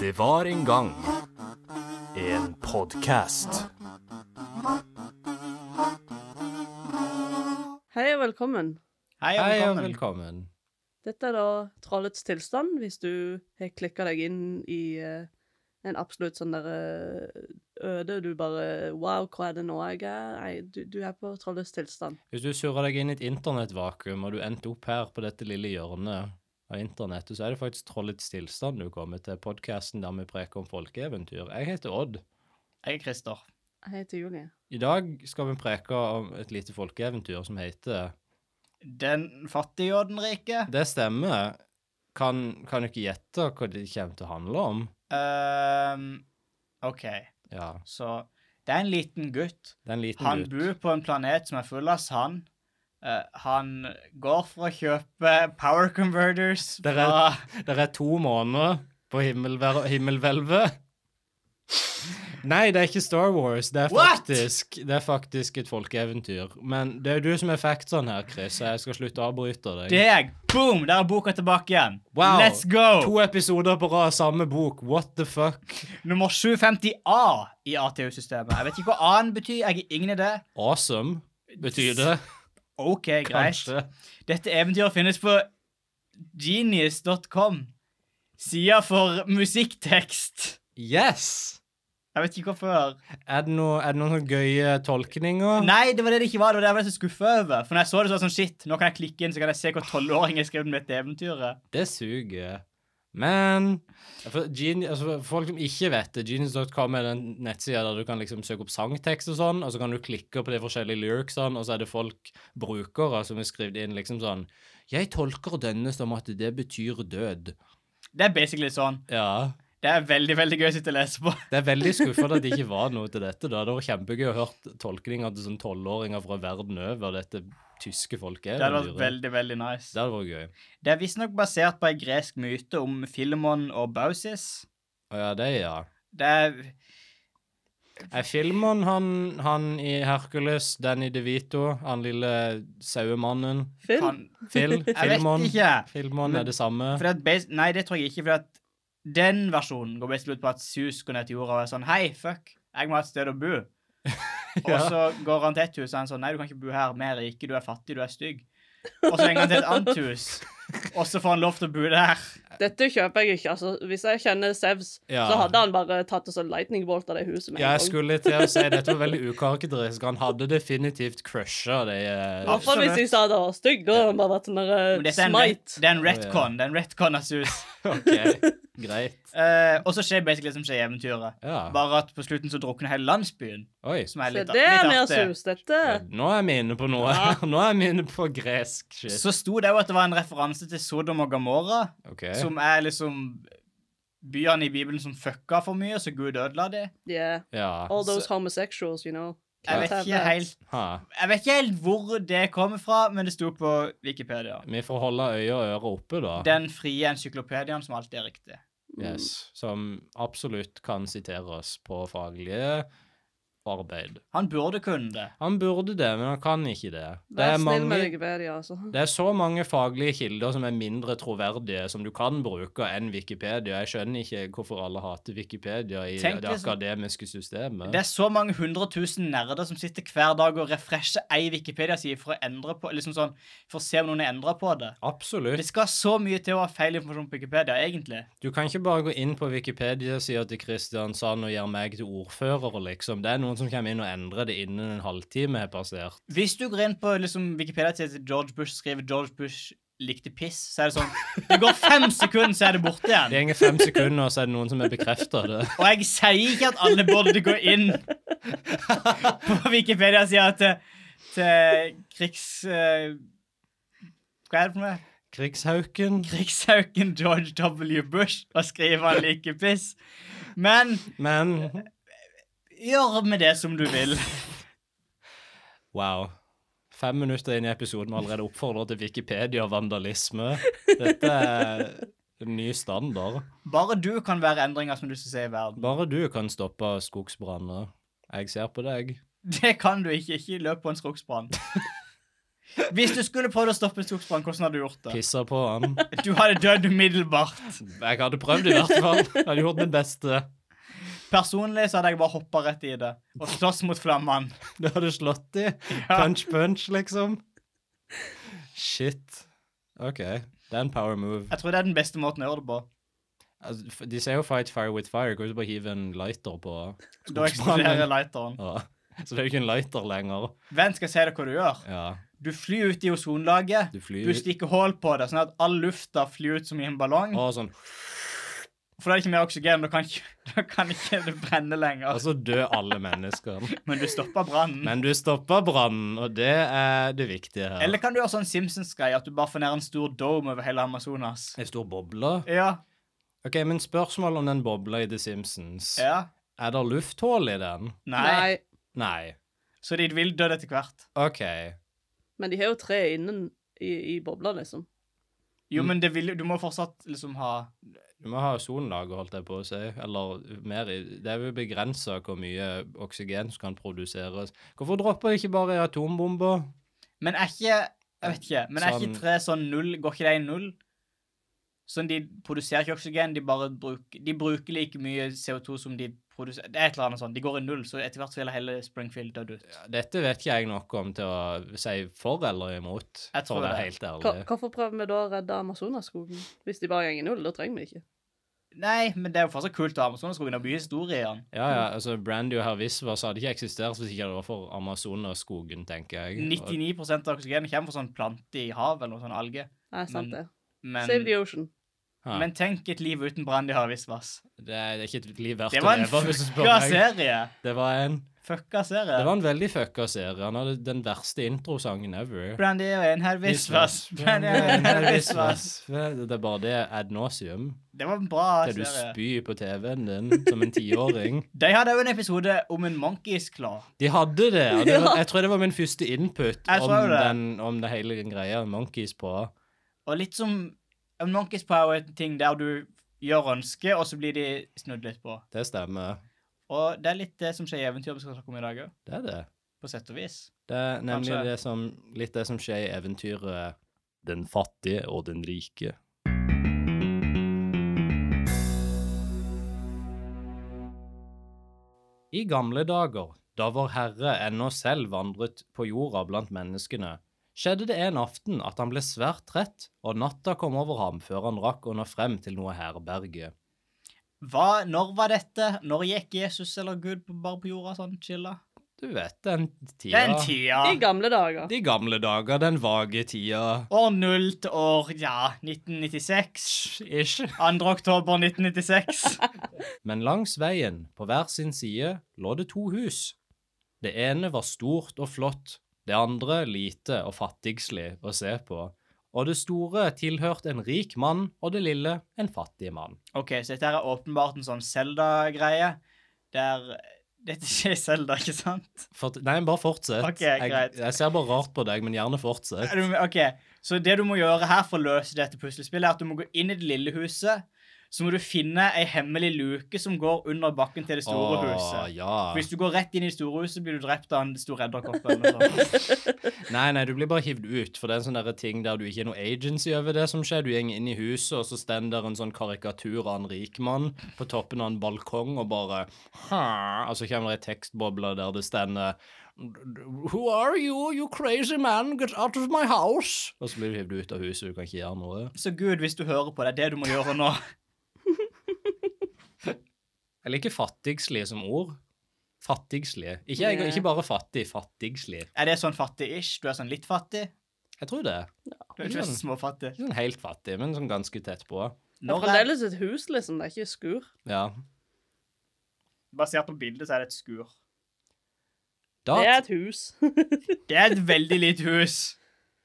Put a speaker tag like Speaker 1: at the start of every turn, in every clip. Speaker 1: Det var en gang en podkast.
Speaker 2: Hei og velkommen.
Speaker 3: Hei og
Speaker 4: Hei
Speaker 3: velkommen.
Speaker 4: og velkommen.
Speaker 2: Dette er da Trollets tilstand, hvis du har klikka deg inn i eh, en absolutt sånn der eh, øde Du bare Wow, hva er det nå jeg er? Nei, du, du er på Trollets tilstand.
Speaker 4: Hvis du surrer deg inn i et internettvakuum, og du endte opp her på dette lille hjørnet av internettet, så er det faktisk Trollets tilstand du kommer til, podkasten der vi preker om folkeeventyr. Jeg heter Odd.
Speaker 3: Jeg er Christer.
Speaker 2: Jeg heter Julie.
Speaker 4: I dag skal vi preke om et lite folkeeventyr som heter
Speaker 3: Den fattige og den rike.
Speaker 4: Det stemmer. Kan, kan du ikke gjette hva det kommer til å handle om?
Speaker 3: Ehm, OK,
Speaker 4: Ja,
Speaker 3: så det er en liten gutt.
Speaker 4: det er en liten
Speaker 3: Han
Speaker 4: gutt.
Speaker 3: bor på en planet som er full av sand. Eh, han går for å kjøpe power converters
Speaker 4: Der
Speaker 3: fra
Speaker 4: er- Det er to måneder på himmelver- himmelhvelvet. Nei, det er ikke Star Wars. Det er
Speaker 3: What?
Speaker 4: faktisk, det er faktisk et folkeeventyr. Men det er jo du som er factsen her, Chris, så jeg skal slutte å avbryte deg.
Speaker 3: deg. Boom! Der er boka tilbake igjen.
Speaker 4: Wow.
Speaker 3: Let's go!
Speaker 4: To episoder på rad, samme bok. What the fuck?
Speaker 3: Nummer 750A i ATU-systemet. Jeg vet ikke hva A-en betyr. Jeg er ingen idé.
Speaker 4: Awesome betyr det,
Speaker 3: OK, greit.
Speaker 4: kanskje.
Speaker 3: Dette eventyret finnes på genius.com. Sida for musikktekst.
Speaker 4: Yes!
Speaker 3: Jeg vet ikke hvorfor.
Speaker 4: Er det, noe, er det noen sånne gøye tolkninger?
Speaker 3: Nei, det var det det ikke var. Det var det jeg ble så skuffa over. For når jeg så det, så var det sånn shit, nå kan jeg klikke inn, så kan jeg se hvor tolvåring har skrevet om dette eventyret.
Speaker 4: Det suger. Men for, Geni- altså, for folk som ikke vet det, genius.com er den nettsida der du kan liksom søke opp sangtekst og sånn, og så kan du klikke på de forskjellige lyricsene, og så er det folk, brukere, som har skrevet inn liksom sånn Jeg tolker denne som at det betyr død.
Speaker 3: Det er basically sånn.
Speaker 4: Ja.
Speaker 3: Det er veldig, veldig gøy å sitte og lese på.
Speaker 4: Det er veldig skuffende at det ikke var noe til dette. da. Det var kjempegøy å høre tolkninger til sånn tolvåringer fra verden over dette tyske
Speaker 3: Det hadde vært
Speaker 4: folkeeventyret.
Speaker 3: veldig, veldig
Speaker 4: Det
Speaker 3: nice.
Speaker 4: hadde vært gøy.
Speaker 3: Det er visstnok basert på en gresk myte om Filemon og Bausis.
Speaker 4: Å ja, det, ja.
Speaker 3: Det er
Speaker 4: Er Filmon han, han i Hercules, Danny DeVito, han lille sauemannen?
Speaker 2: Finn?
Speaker 3: faen,
Speaker 4: Phil?
Speaker 3: Jeg vet
Speaker 4: Filmon?
Speaker 3: ikke.
Speaker 4: Filmon er det samme?
Speaker 3: For at bas- nei, det tror jeg ikke. For at den versjonen går basically ut på at Zeus går ned til jorda og er sånn Hei, fuck, jeg må ha et sted å bo. Og
Speaker 4: Ja.
Speaker 3: så går han til et hus og er han sånn Nei, du kan ikke bo her. Vi er rike, du er fattig, du er stygg. Og så henger han til et annet hus, og så får han lov til å bo der.
Speaker 2: Dette kjøper jeg ikke. altså. Hvis jeg kjenner Sevs,
Speaker 4: Ja.
Speaker 2: så hadde han bare tatt og sånn lightning bolt av det huset med
Speaker 4: Ja, jeg
Speaker 2: en gang.
Speaker 4: skulle til å si dette var veldig ukarakteristisk. Han hadde definitivt crusha de
Speaker 3: Ja.
Speaker 4: eh,
Speaker 2: Iallfall hvis jeg sa det var stygg. Da hadde han bare vært sånn der
Speaker 3: Men
Speaker 2: eh,
Speaker 3: dette er en, ret,
Speaker 2: smite.
Speaker 3: det er en retcon. Det er en retcon av Zeus.
Speaker 4: OK, greit.
Speaker 3: Eh, og så skjer basically det som skjer i eventyret.
Speaker 4: Ja.
Speaker 3: Bare at på slutten så drukner hele landsbyen.
Speaker 4: Oi.
Speaker 3: Som er
Speaker 2: Se,
Speaker 3: litt,
Speaker 2: det er
Speaker 3: litt
Speaker 2: mer
Speaker 3: artig.
Speaker 2: sus, dette.
Speaker 4: Nå er vi inne på noe.
Speaker 2: Ja.
Speaker 4: Nå er vi inne på gresk shit.
Speaker 3: Så sto det jo at det var en referanse til Sodom og Gamora.
Speaker 4: OK.
Speaker 3: Som er liksom byene i Bibelen som fucka for mye, så Gud ødela de.
Speaker 2: Yeah.
Speaker 4: Ja.
Speaker 2: All those
Speaker 3: Så-
Speaker 2: homosexuals, you know.
Speaker 3: Jeg
Speaker 2: Can't
Speaker 3: vet,
Speaker 2: have
Speaker 3: ikke
Speaker 2: that.
Speaker 3: helt,
Speaker 4: Ha.
Speaker 3: jeg vet ikke helt hvor det kommer fra, men det sto på Wikipedia.
Speaker 4: Vi får holde øye og ører oppe, da.
Speaker 3: Den frie encyklopediaen som alltid er riktig.
Speaker 4: Yes, som absolutt kan siteres på faglige arbeid.
Speaker 3: Han burde kunne det.
Speaker 4: Han burde det, men han kan ikke det. Det
Speaker 2: Vær
Speaker 4: er,
Speaker 2: snill med
Speaker 4: mange,
Speaker 2: Wikipedia, altså.
Speaker 4: det er så mange faglige kilder som er mindre troverdige, som du kan bruke enn Wikipedia. Jeg skjønner ikke hvorfor alle hater Wikipedia i
Speaker 3: Tenk
Speaker 4: det
Speaker 3: liksom-
Speaker 4: akademiske systemet.
Speaker 3: Det er så mange hundre tusen nerder som sitter hver dag og refresher ei Wikipedia-side for å endre på, liksom sånn, for å se om noen har endra på det. Det
Speaker 4: Absolutt.
Speaker 3: skal så mye til å ha feil informasjon på Wikipedia, egentlig.
Speaker 4: Du kan ikke bare gå inn på Wikipedia-sida til Kristiansand og gjøre meg til ordfører, liksom. Det er noen som kommer inn og endrer det innen en halvtime har passert.
Speaker 3: Hvis du går inn på liksom, Wikipedia til George Bush, skriver George Bush likte piss, så er det sånn Det går fem sekunder, så er det borte
Speaker 4: Det
Speaker 3: igjen.
Speaker 4: går fem sekunder, så er det noen som har bekrefta det.
Speaker 3: Og jeg sier ikke at alle burde gå inn på Wikipedia-sida til, eh, til krigs... eh, hva er det for noe?
Speaker 4: Krigshauken.
Speaker 3: Krigshauken George W. Bush og skrive han liker piss. Men
Speaker 4: Men
Speaker 3: gjør med det som du vil.
Speaker 4: wow. Fem minutter inn i episoden og allerede oppfordrer til Wikipedia og vandalisme. Dette er en ny standard.
Speaker 3: Bare du kan være endringer som du skal se i verden.
Speaker 4: Bare du kan stoppe skogsbranner. Jeg ser på deg.
Speaker 3: Det kan du ikke. Ikke løp på en skogsbrann. Hvis du skulle prøvd å stoppe en skogsbrann, hvordan hadde du gjort det?
Speaker 4: Pissa på han.
Speaker 3: Du hadde dødd umiddelbart.
Speaker 4: Jeg hadde prøvd i hvert fall. Jeg hadde gjort mitt beste.
Speaker 3: Personlig så hadde jeg bare hoppa rett i det og slåss mot flammene.
Speaker 4: Det hadde slått i. Punch, punch, liksom. Shit. OK. Det er en power move.
Speaker 3: Jeg tror det er den beste måten å gjøre det på.
Speaker 4: Altså, f- De sier jo 'fight fire with fire'. Kan du ikke bare hive en lighter på
Speaker 3: Da eksploderer lighteren.
Speaker 4: Ja. Så det er jo ikke en lighter lenger.
Speaker 3: Hvem skal se deg hva du gjør?
Speaker 4: Ja,
Speaker 3: Du flyr ut i ozonlaget.
Speaker 4: du flyr
Speaker 3: Du stikker hull på det, sånn at all lufta flyr ut som i en ballong.
Speaker 4: Og sånn.
Speaker 3: For da er det ikke mer oksygen. Da kan ikke, da kan ikke det brenne
Speaker 4: Og
Speaker 3: lenger.
Speaker 4: så dør alle mennesker.
Speaker 3: Men du stopper brannen.
Speaker 4: Men du stopper brannen, og det er det viktige her.
Speaker 3: Eller kan du gjøre sånn Simpsons-greie, at du bare får ned en stor dome over hele Amazonas?
Speaker 4: En stor boble.
Speaker 3: Ja.
Speaker 4: Ok, Men spørsmål om den bobla i The Simpsons.
Speaker 3: Ja.
Speaker 4: Er det lufthull i den?
Speaker 3: Nei.
Speaker 4: Nei.
Speaker 3: Så de vil dø etter hvert.
Speaker 4: OK.
Speaker 2: Men de har jo tre innen i, i bobla, liksom.
Speaker 3: Jo,
Speaker 4: Mm.
Speaker 3: men det vil, du må fortsatt liksom ha
Speaker 4: Du må ha ozonlager, holdt jeg på å si. Eller mer i Det er jo begrensa hvor mye oksygen som kan produseres. Hvorfor dropper de ikke bare atombomber?
Speaker 3: Men er ikke Jeg vet ikke. Men er
Speaker 4: Sånn-
Speaker 3: ikke tre sånn null Går ikke det i null? Sånn de produserer ikke oksygen, de bare bruker De bruker like mye CO2 som de produserer Det er et eller annet sånn. De går i null, så etter hvert så vil hele Springfield dødd ut.
Speaker 4: Dette vet ikke jeg nok om til å si for eller imot,
Speaker 3: Jeg tror
Speaker 4: for å være
Speaker 3: det.
Speaker 4: helt
Speaker 2: Hva-
Speaker 4: ærlig.
Speaker 2: Hvorfor prøver vi da å redde Amazonaskogen? Hvis de bare går i null, da trenger vi det ikke.
Speaker 3: Nei, men det er jo fortsatt kult å ha Amazonaskogen og mye historie i den.
Speaker 4: Ja, ja, altså Brandy og herr Visvas hadde ikke eksistert hvis ikke det var for Amazonaskogen, tenker jeg.
Speaker 3: 99 av oksygenet kommer fra sånn plante i havet eller noe sånn alge.
Speaker 2: Nei, sant
Speaker 3: Men-
Speaker 2: det. Save
Speaker 3: Men,
Speaker 2: the ocean.
Speaker 4: Ja.
Speaker 3: men tenk et liv uten brann de har visst vass.
Speaker 4: Det er, det er ikke et liv verdt
Speaker 3: Det
Speaker 4: å
Speaker 3: var en
Speaker 4: leve, hvis du spør
Speaker 3: fucka
Speaker 4: meg.
Speaker 3: serie.
Speaker 4: Det var en,
Speaker 3: Fucka serie.
Speaker 4: det var en veldig fucka serie. Han hadde den verste introsangen ever.
Speaker 3: Brandy og en herr Visvas. Brandy og en herr Visvas.
Speaker 4: Det det er bare det ad nauseum.
Speaker 3: Det var en bra
Speaker 4: Det du
Speaker 3: serie.
Speaker 4: spyr på TV-en din som en tiåring.
Speaker 3: De hadde jo en episode om en monkey's claw.
Speaker 4: De hadde det, og det var, jeg tror det var min første input
Speaker 3: Jeg
Speaker 4: om
Speaker 3: tror det.
Speaker 4: den, om det hele den greia Monkeys på.
Speaker 3: Og litt som en monkey's power er en ting der du gjør ønske, og så blir de snudd litt på.
Speaker 4: Det stemmer.
Speaker 3: Og det er litt det som skjer i eventyret vi skal snakke om i dag òg,
Speaker 4: Det er det.
Speaker 3: på sett og vis.
Speaker 4: Det er nemlig
Speaker 3: Kanskje.
Speaker 4: det som, litt det som skjer i eventyret eh, Den fattige og den rike. I gamle dager, da vår Herre ennå selv vandret på jorda blant menneskene, skjedde det en aften at han ble svært trett, og natta kom over ham før han rakk å nå frem til noe herberge.
Speaker 3: Hva, når var dette? Når gikk Jesus eller Gud på, bare på jorda sånn chilla?
Speaker 4: Du vet, den tida.
Speaker 3: Den
Speaker 2: I
Speaker 3: tida!
Speaker 2: gamle dager.
Speaker 4: De gamle dager, den vage tida.
Speaker 3: År null til år, ja, 1996.
Speaker 4: Ish.
Speaker 3: 2. oktober 1996.
Speaker 4: Men langs veien, på hver sin side, lå det to hus. Det ene var stort og flott, det andre lite og fattigslig å se på, og det store tilhørte en rik mann, og det lille en fattig mann.
Speaker 3: Ok, så dette her er åpenbart en sånn Zelda-greie. Der Dette skjer i Zelda, ikke sant?
Speaker 4: Fort- nei, bare fortsett.
Speaker 3: Ok,
Speaker 4: jeg,
Speaker 3: greit.
Speaker 4: jeg ser bare rart på deg, men gjerne fortsett.
Speaker 3: Er du- Ok, så det du må gjøre her for å løse dette puslespillet, er at du må gå inn i det lille huset. Så må du finne ei hemmelig luke som går under bakken til det store
Speaker 4: Åh,
Speaker 3: huset. For Hvis
Speaker 4: ja.
Speaker 3: du går rett inn i det store huset, blir du drept av en stor edderkopp. eller noe sånt.
Speaker 4: Nei, nei, du blir bare hivd ut, for det er en sånn derre ting der du ikke har noe agency over det som skjer. Du går inn i huset, og så stender der en sånn karikatur av en rik mann på toppen av en balkong og bare «Hæ?» Og så kommer det ei tekstboble der det stender Who are you, you crazy man? Get out of my house! Og så blir du hivd ut av huset, du kan ikke gjøre noe.
Speaker 3: Så Gud, hvis du hører på, det er det du må gjøre nå.
Speaker 4: Jeg liker fattigslig som ord. Fattigslig. Ikke, jeg, ikke bare fattig, fattigslig.
Speaker 3: Er det sånn fattig-ish? Du er sånn litt fattig?
Speaker 4: Jeg tror det.
Speaker 3: Du er ikke sånn småfattig?
Speaker 4: Ikke sånn helt fattig, men sånn ganske tett på.
Speaker 2: Det er
Speaker 3: Når er,
Speaker 2: fremdeles et hus, liksom. Det er ikke skur.
Speaker 4: Ja.
Speaker 3: basert på bildet så er det et skur.
Speaker 4: Da,
Speaker 2: Det er et hus.
Speaker 3: Det er et veldig lite hus.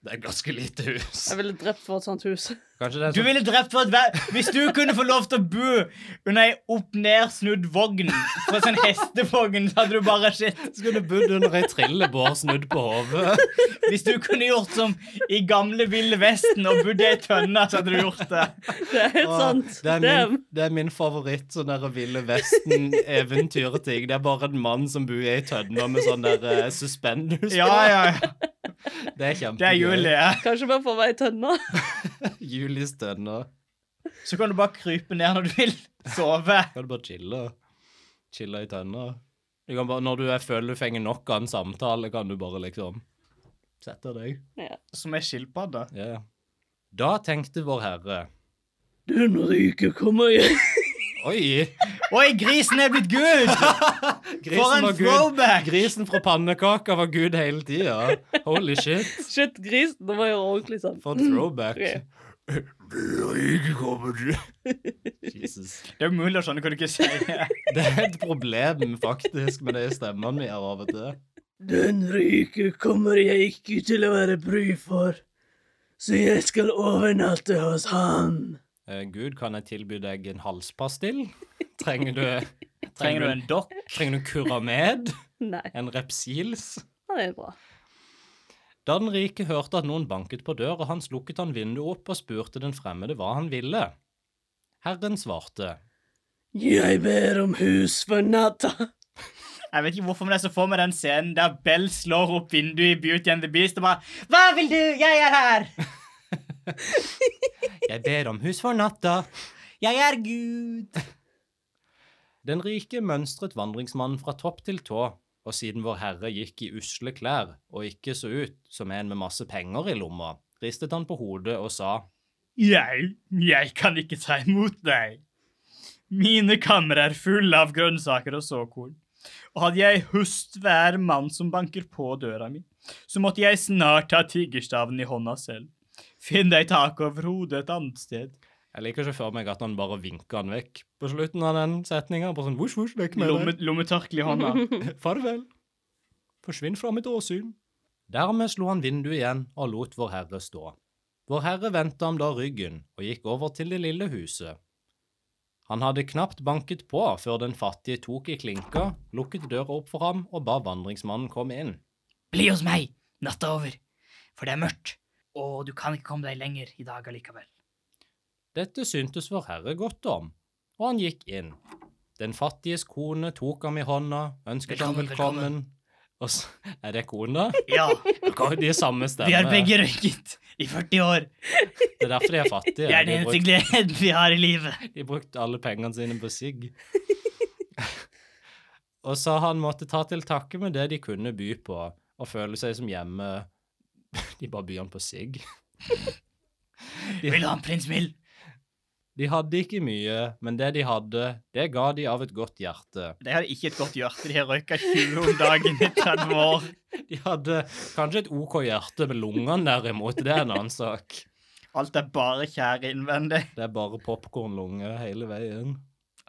Speaker 4: det er ganske lite hus.
Speaker 2: Jeg ville drept for et sånt hus.
Speaker 4: Kanskje det er sånn-
Speaker 3: Du ville drept for et ver- Hvis du kunne få lov til å bo under ei opp-ned-snudd vogn, for en sånn hestevogn, så hadde du bare shit.
Speaker 4: Skulle bodd under ei trillebår snudd på hodet.
Speaker 3: Hvis du kunne gjort som i gamle Ville Vesten og bodd i ei tønne, så hadde du gjort det.
Speaker 2: Det er helt sant.
Speaker 4: Det er
Speaker 2: Damn.
Speaker 4: min, det er min favoritt sånn der Ville Vesten-eventyrting. Det er bare en mann som bor i ei tønne med sånn der eh, suspenders.
Speaker 3: Ja, ja, ja.
Speaker 4: Det er kjempegøy.
Speaker 3: Det er Julie.
Speaker 2: Kanskje bare få meg i tønna.
Speaker 4: Julie stønner.
Speaker 3: Så kan du bare krype ned når du vil sove.
Speaker 4: Kan du bare chille? Chille i tønna. Du kan bare, når du er, føler du fenger nok av en samtale, kan du bare liksom sette deg.
Speaker 2: Ja.
Speaker 3: Som er skilpadde.
Speaker 4: Ja. Da tenkte vår herre
Speaker 2: Den rike kommer hjem.
Speaker 4: Oi!
Speaker 3: Oi, grisen er blitt gud! For
Speaker 4: Grisen
Speaker 3: en
Speaker 4: var gud.
Speaker 3: throwback!
Speaker 4: Grisen fra pannekaka var gud hele tida. Holy shit.
Speaker 2: Shit, gris. Nå må jeg gjøre ordentlig sånn.
Speaker 4: For en throwback.
Speaker 3: Mm,
Speaker 2: Ok.
Speaker 4: Jesus.
Speaker 3: Det er umulig å skjønne hva du ikke sier.
Speaker 4: Det er et problem faktisk med de stemmene vi har av og til.
Speaker 2: Den rike kommer jeg ikke til å være bry for, så jeg skal overnatte hos ham.
Speaker 4: Eh, Gud, kan jeg tilby deg en halspastill? Trenger du
Speaker 3: Trenger du en dokk?
Speaker 4: Trenger du Curamed?
Speaker 2: Nei,
Speaker 4: En Repsils?
Speaker 2: det er bra.
Speaker 4: Da den rike hørte at noen banket på døra hans, lukket han vinduet opp og spurte den fremmede hva han ville. Herren svarte.
Speaker 2: Jeg ber om hus for natta.
Speaker 3: Jeg vet ikke hvorfor, men jeg så for meg den scenen der Bell slår opp vinduet i Beauty and the Beast og bare Hva vil du? Jeg er her!
Speaker 4: Jeg ber om hus for natta.
Speaker 3: Jeg er Gud!
Speaker 4: Den rike mønstret vandringsmannen fra topp til tå, og siden vår herre gikk i usle klær og ikke så ut som en med masse penger i lomma, ristet han på hodet og sa,
Speaker 3: Jeg, jeg kan ikke ta imot deg. Mine kammer er fulle av grønnsaker og såkorn. Og hadde jeg husket hver mann som banker på døra mi, så måtte jeg snart ta tiggerstaven i hånda selv. Finn deg tak over hodet et annet sted.
Speaker 4: jeg liker ikke for meg at han bare vinket han vekk på slutten av den setningen, bare sånn, vosj, vosj, vekk med
Speaker 3: Lomme,
Speaker 4: deg,
Speaker 3: lommetørkle i hånda.
Speaker 4: farvel, forsvinn fra mitt åsyn. Dermed slo han vinduet igjen og lot vår herre stå. Vår herre ventet ham da ryggen og gikk over til det lille huset. Han hadde knapt banket på før den fattige tok i klinka, lukket døra opp for ham og ba vandringsmannen komme inn.
Speaker 3: Bli hos meg natta over, for det er mørkt, og du kan ikke komme deg lenger i dag allikevel.
Speaker 4: Dette syntes vår herre godt om, og han gikk inn. Den fattiges kone tok ham i hånda, ønsket ham
Speaker 3: Velkommen,
Speaker 4: velkommen. Og så, er det kona?
Speaker 3: Ja,
Speaker 4: De er samme stemme.
Speaker 3: vi har begge røyket i 40 år.
Speaker 4: Det er derfor de er
Speaker 3: Det
Speaker 4: fattige.
Speaker 3: er
Speaker 4: de
Speaker 3: den
Speaker 4: har
Speaker 3: eneste
Speaker 4: brukt-
Speaker 3: gleden vi har i livet.
Speaker 4: De brukte alle pengene sine på sigg. og sa han måtte ta til takke med det de kunne by på, og føle seg som hjemme. De bare byr han på sigg. De-
Speaker 3: Vil du ha en prins Mild?
Speaker 4: De hadde ikke mye, men det de hadde, det ga de av et godt hjerte.
Speaker 3: De har ikke et godt hjerte. De har røyka 20 om dagen i 30 år.
Speaker 4: De hadde kanskje et OK hjerte, men lungene derimot, det er en annen sak.
Speaker 3: Alt er bare kjære innvendig.
Speaker 4: Det er bare popkornlunge hele veien.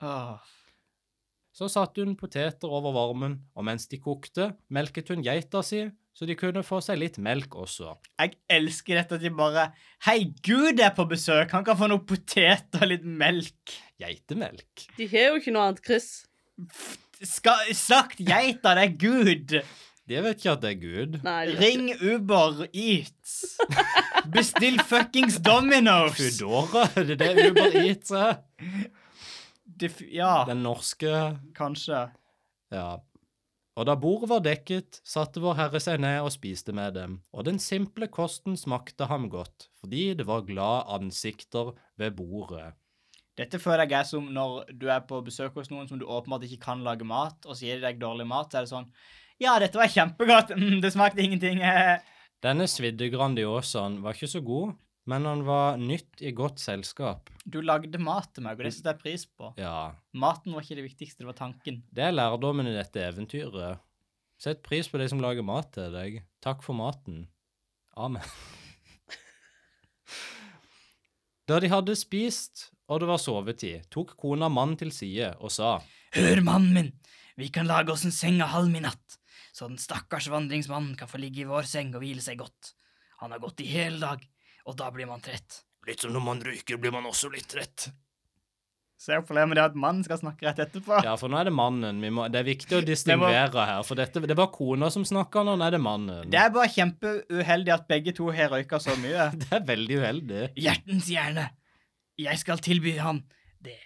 Speaker 3: Åh.
Speaker 4: Så satte hun poteter over varmen, og mens de kokte, melket hun geita si, så de kunne få seg litt melk også.
Speaker 3: Jeg elsker dette at de bare Hei, Gud er på besøk! Han kan få noen poteter og litt melk.
Speaker 4: Geitemelk?
Speaker 2: De har jo ikke noe annet, Chris.
Speaker 3: Ska, slakt geita, det er Gud!
Speaker 4: De vet ikke at det er Gud.
Speaker 2: Nei, de har ikke-
Speaker 3: Ring Uber Eats. Bestill fuckings Dominoes.
Speaker 4: Foodora, det er det Uber Eats er.
Speaker 3: Det f- ja,
Speaker 4: Den norske
Speaker 3: kanskje.
Speaker 4: Ja. Og da bordet var dekket, satte vår Herre seg ned og spiste med dem, og den simple kosten smakte ham godt, fordi det var glade ansikter ved bordet.
Speaker 3: Dette føler jeg er som når du er på besøk hos noen som du åpenbart ikke kan lage mat, og så gir de deg dårlig mat, så er det sånn Ja, dette var kjempegodt. Mm, det smakte ingenting. eh.»
Speaker 4: Denne svidde Grandiosaen var ikke så god, men han var nytt i godt selskap.
Speaker 3: Du lagde mat til meg, og det setter jeg pris på.
Speaker 4: Ja,
Speaker 3: Maten var ikke det viktigste, det var tanken.
Speaker 4: det er lærdommen i dette eventyret. Sett pris på de som lager mat til deg. Takk for maten. Amen. Da de hadde spist, og det var sovetid, tok kona mannen til side og sa
Speaker 3: Hør, mannen min, vi kan lage oss en seng av halm i natt, så den stakkars vandringsmannen kan få ligge i vår seng og hvile seg godt. Han har gått i hele dag, og da blir man trett.
Speaker 4: Litt som når man røyker, blir man også litt trett.
Speaker 3: Så er problemet det at mannen skal snakke rett etterpå.
Speaker 4: Ja, for nå er det mannen. Vi må, det er viktig å distingvere her, for dette, det var kona som snakka, nå er det mannen.
Speaker 3: Det er bare kjempeuheldig at begge to har røyka så mye.
Speaker 4: Det er veldig uheldig.
Speaker 3: Hjertens hjerne. Jeg skal tilby han det.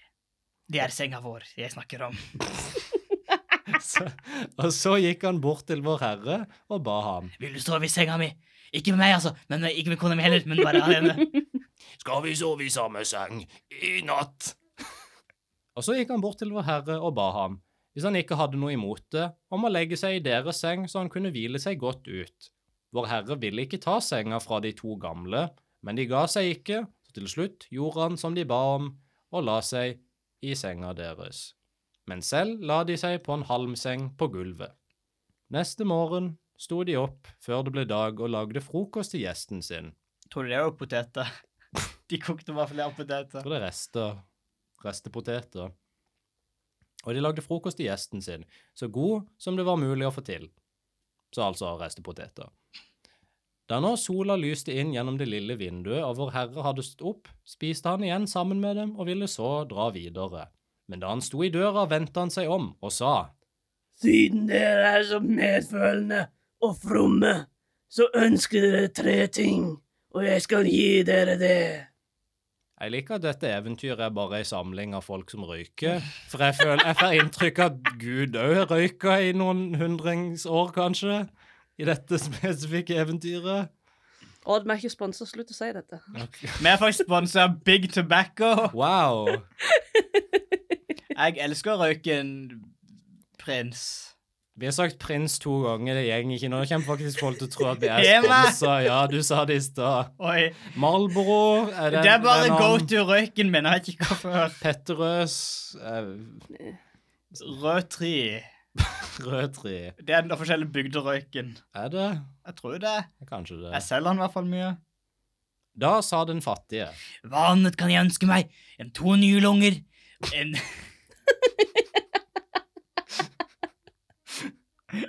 Speaker 3: Det er senga vår jeg snakker om.
Speaker 4: Så, og så gikk han bort til Vår Herre og ba ham.
Speaker 3: Vil du sove i senga mi? Ikke med meg, altså. Men ikke med kona mi heller. Men bare alene.
Speaker 4: Skal vi sove i samme seng i natt? og så gikk han bort til vår herre og ba ham, hvis han ikke hadde noe imot det, om å legge seg i deres seng så han kunne hvile seg godt ut. Vår herre ville ikke ta senga fra de to gamle, men de ga seg ikke, så til slutt gjorde han som de ba om, og la seg i senga deres. Men selv la de seg på en halmseng på gulvet. Neste morgen sto de opp før det ble dag og lagde frokost til gjesten sin.
Speaker 3: Tror du det er jo poteter? De kokte vafler av
Speaker 4: Jeg
Speaker 3: poteter.
Speaker 4: tror det er rester. Restepoteter. Og de lagde frokost til gjesten sin, så god som det var mulig å få til. Så altså restepoteter. Da nå sola lyste inn gjennom det lille vinduet og vår herre hadde stått opp, spiste han igjen sammen med dem og ville så dra videre. Men da han sto i døra, vendte han seg om og sa,
Speaker 2: Siden dere er så medfølende og fromme, så ønsker dere tre ting, og jeg skal gi dere det.
Speaker 4: jeg liker at dette eventyret er bare ei samling av folk som røyker, for jeg føler jeg får inntrykk av at Gud òg røyka i noen hundrings år, kanskje, i dette spesifikke eventyret.
Speaker 2: Odd, vi er ikke sponsa. Slutt å si dette.
Speaker 3: Vi er faktisk sponsa av Big Tobacco.
Speaker 4: Wow.
Speaker 3: Jeg elsker røyken prins.
Speaker 4: Vi har sagt prins to ganger, det gjeng ikke nå. Det kommer faktisk folk til å tro at vi er
Speaker 3: Emma!
Speaker 4: sponsa. Ja, du sa det i stad.
Speaker 3: Oi.
Speaker 4: Marlboro er den,
Speaker 3: Det er bare
Speaker 4: den
Speaker 3: go
Speaker 4: annen.
Speaker 3: to-røyken min. Jeg vet ikke hvorfor.
Speaker 4: Petterøes eh,
Speaker 3: Rød tre.
Speaker 4: Rød tre.
Speaker 3: Det er den offisielle bygderøyken.
Speaker 4: Er det?
Speaker 3: Jeg tror det.
Speaker 4: Kanskje det.
Speaker 3: Jeg selger den i hvert fall mye.
Speaker 4: Da sa den fattige.
Speaker 3: Hva annet kan jeg ønske meg enn to nye lunger? En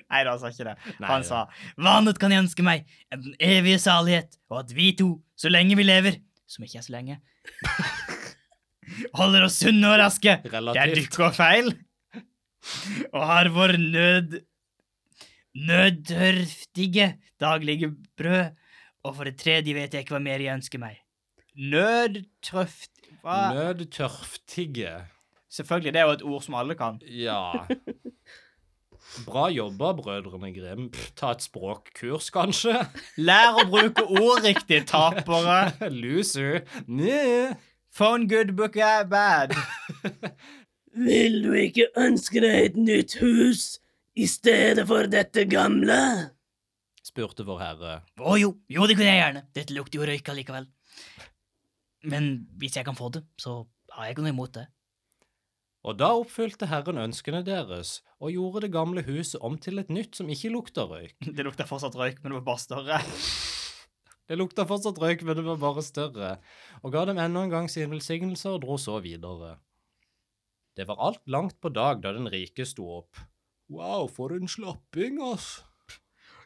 Speaker 3: Nei da, han sa ikke det.
Speaker 4: Nei,
Speaker 3: han
Speaker 4: det-
Speaker 3: sa Hva annet kan jeg ønske meg enn den evige salighet, og at vi to, så lenge vi lever, som ikke er så lenge Holder oss sunne og raske. Der
Speaker 4: Relativt.
Speaker 3: dukker feil. Og har vår nød nødtørftige daglige brød. Og for det tredje vet jeg ikke hva mer jeg ønsker meg. Nødtrøft...
Speaker 4: Ah.
Speaker 3: Hva?
Speaker 4: Nødtørftige.
Speaker 3: Selvfølgelig, det er jo et ord som alle kan.
Speaker 4: Ja. Bra jobba, brødrene Grim. Pff, ta et språkkurs, kanskje?
Speaker 3: Lær å bruke ord riktig, tapere.
Speaker 4: Loser. Nye.
Speaker 3: Phone good, book er bad.
Speaker 2: Vil du ikke ønske deg et nytt hus i stedet for dette gamle?
Speaker 4: spurte vår herre.
Speaker 3: Å jo, jo det kunne jeg gjerne. Dette lukter jo røyk allikevel. Men hvis jeg kan få det, så har jeg ikke noe imot det.
Speaker 4: Og da oppfylte Herren ønskene deres, og gjorde det gamle huset om til et nytt som ikke lukta røyk.
Speaker 3: Det lukter fortsatt røyk, men det var bare større.
Speaker 4: Det lukta fortsatt røyk, men det var bare større, og ga dem enda en gang sin velsignelse og dro så videre. Det var alt langt på dag da den rike sto opp. Wow, for en slapping, ass.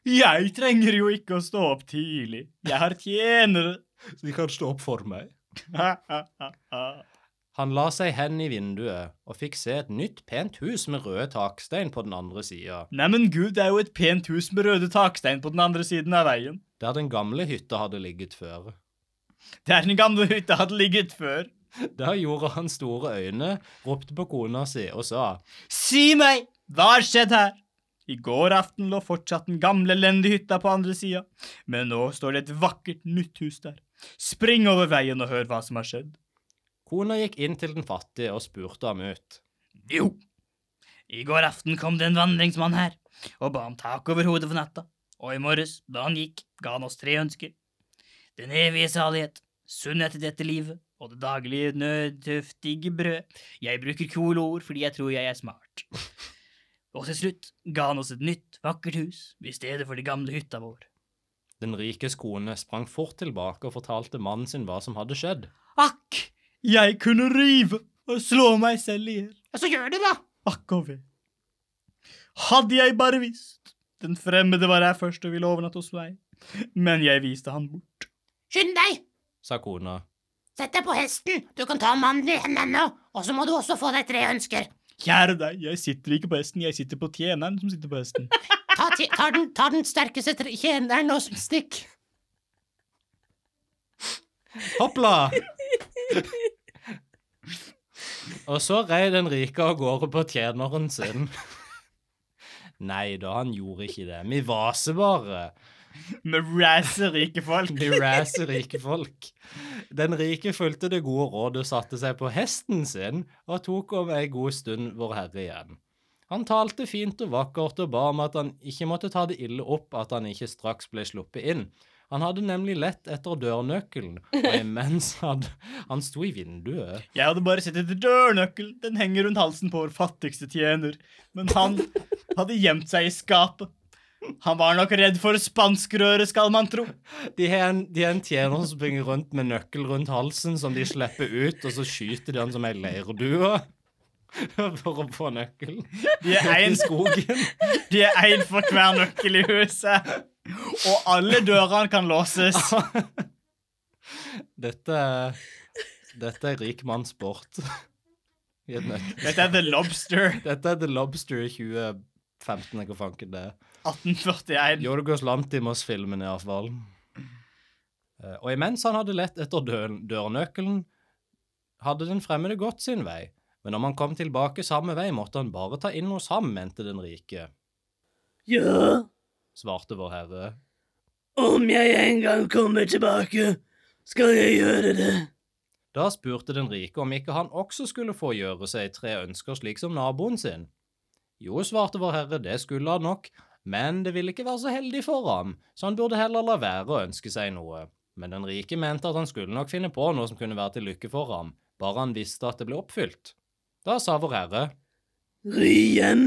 Speaker 3: Jeg trenger jo ikke å stå opp tidlig. Jeg har tjenere.
Speaker 4: De kan stå opp for meg.
Speaker 3: Å
Speaker 4: Han la seg hen i vinduet og fikk se et nytt, pent hus med røde takstein på den andre sida,
Speaker 3: Neimen, gud, det er jo et pent hus med røde takstein på den andre siden av veien.
Speaker 4: der den gamle hytta hadde ligget før.
Speaker 3: Det er den gamle hytta hadde ligget før.
Speaker 4: Da gjorde han store øyne, ropte på kona si og sa
Speaker 3: Si meg, hva har skjedd her? I går aften lå fortsatt den gamle elendige hytta på andre sida, men nå står det et vakkert nytt hus der. Spring over veien og hør hva som har skjedd.
Speaker 4: Kona gikk inn til den fattige og spurte ham ut.
Speaker 3: Jo. I går aften kom det en vandringsmann her og ba om tak over hodet for natta, og i morges, da han gikk, ga han oss tre ønsker. Den evige salighet, sunnhet i dette livet og det daglige nødtøftige brød. Jeg bruker kule ord fordi jeg tror jeg er smart. Og til slutt ga han oss et nytt, vakkert hus i stedet for de gamle hytta vår.
Speaker 4: Den rikes kone sprang fort tilbake og fortalte mannen sin hva som hadde skjedd.
Speaker 3: Akk, jeg kunne rive og slå meg selv i hjel.
Speaker 4: Ja, så gjør det, da!
Speaker 3: Akk og ve. Hadde jeg bare visst. Den fremmede var her først og ville overnatte hos meg, men jeg viste han bort.
Speaker 5: Skynd deg!
Speaker 4: sa kona.
Speaker 5: Sett deg på hesten! Du kan ta mannen i hendene, og så må du også få deg tre ønsker.
Speaker 3: Kjære deg, jeg sitter ikke på hesten, jeg sitter på tjeneren som sitter på hesten.
Speaker 5: Ta, ti- ta, den, ta den sterkeste tre- tjeneren og stikk.
Speaker 4: Hoppla! og så rei den rike av gårde på tjeneren sin. Nei da, han gjorde ikke det. Vi vaser bare.
Speaker 3: Vi razzer rike folk.
Speaker 4: De razzer rike folk. Den rike fulgte det gode rådet og satte seg på hesten sin og tok om ei god stund vår herre igjen. Han talte fint og vakkert og ba om at han ikke måtte ta det ille opp at han ikke straks ble sluppet inn. Han hadde nemlig lett etter dørnøkkelen, og imens hadde han sto i vinduet.
Speaker 3: Jeg hadde bare sett etter dørnøkkelen. Den henger rundt halsen på vår fattigste tjener. Men han hadde gjemt seg i skapet. Han var nok redd for spanskrøret, skal man tro.
Speaker 4: De har en, de har en tjener som springer rundt med nøkkel rundt halsen, som de slipper ut, og så skyter de han som ei leirdue for å få nøkkelen
Speaker 3: De er
Speaker 4: i
Speaker 3: en,
Speaker 4: skogen.
Speaker 3: de er en for hver nøkkel i huset. Og alle dørene kan låses.
Speaker 4: Dette er, dette er rik manns sport. I et nøtt.
Speaker 3: Dette er The Lobster
Speaker 4: Dette er The Lobster i 2015, eller hva fanken det er.
Speaker 3: 1841.
Speaker 4: Jorgos Lantimos-filmen, iallfall. Eh, Og imens han hadde lett etter dø- dørnøkkelen, hadde den fremmede gått sin vei. Men om han kom tilbake samme vei, måtte han bare ta inn hos ham, mente den rike,
Speaker 2: Ja,
Speaker 4: svarte vår herre.
Speaker 2: om jeg en gang kommer tilbake, skal jeg gjøre det.
Speaker 4: Da spurte den rike om ikke han også skulle få gjøre seg tre ønsker slik som naboen sin. Jo, svarte vår herre, det skulle han nok, men det ville ikke være så heldig for ham, så han burde heller la være å ønske seg noe. Men den rike mente at han skulle nok finne på noe som kunne være til lykke for ham, bare han visste at det ble oppfylt. Da sa vår herre,
Speaker 2: Ri hjem,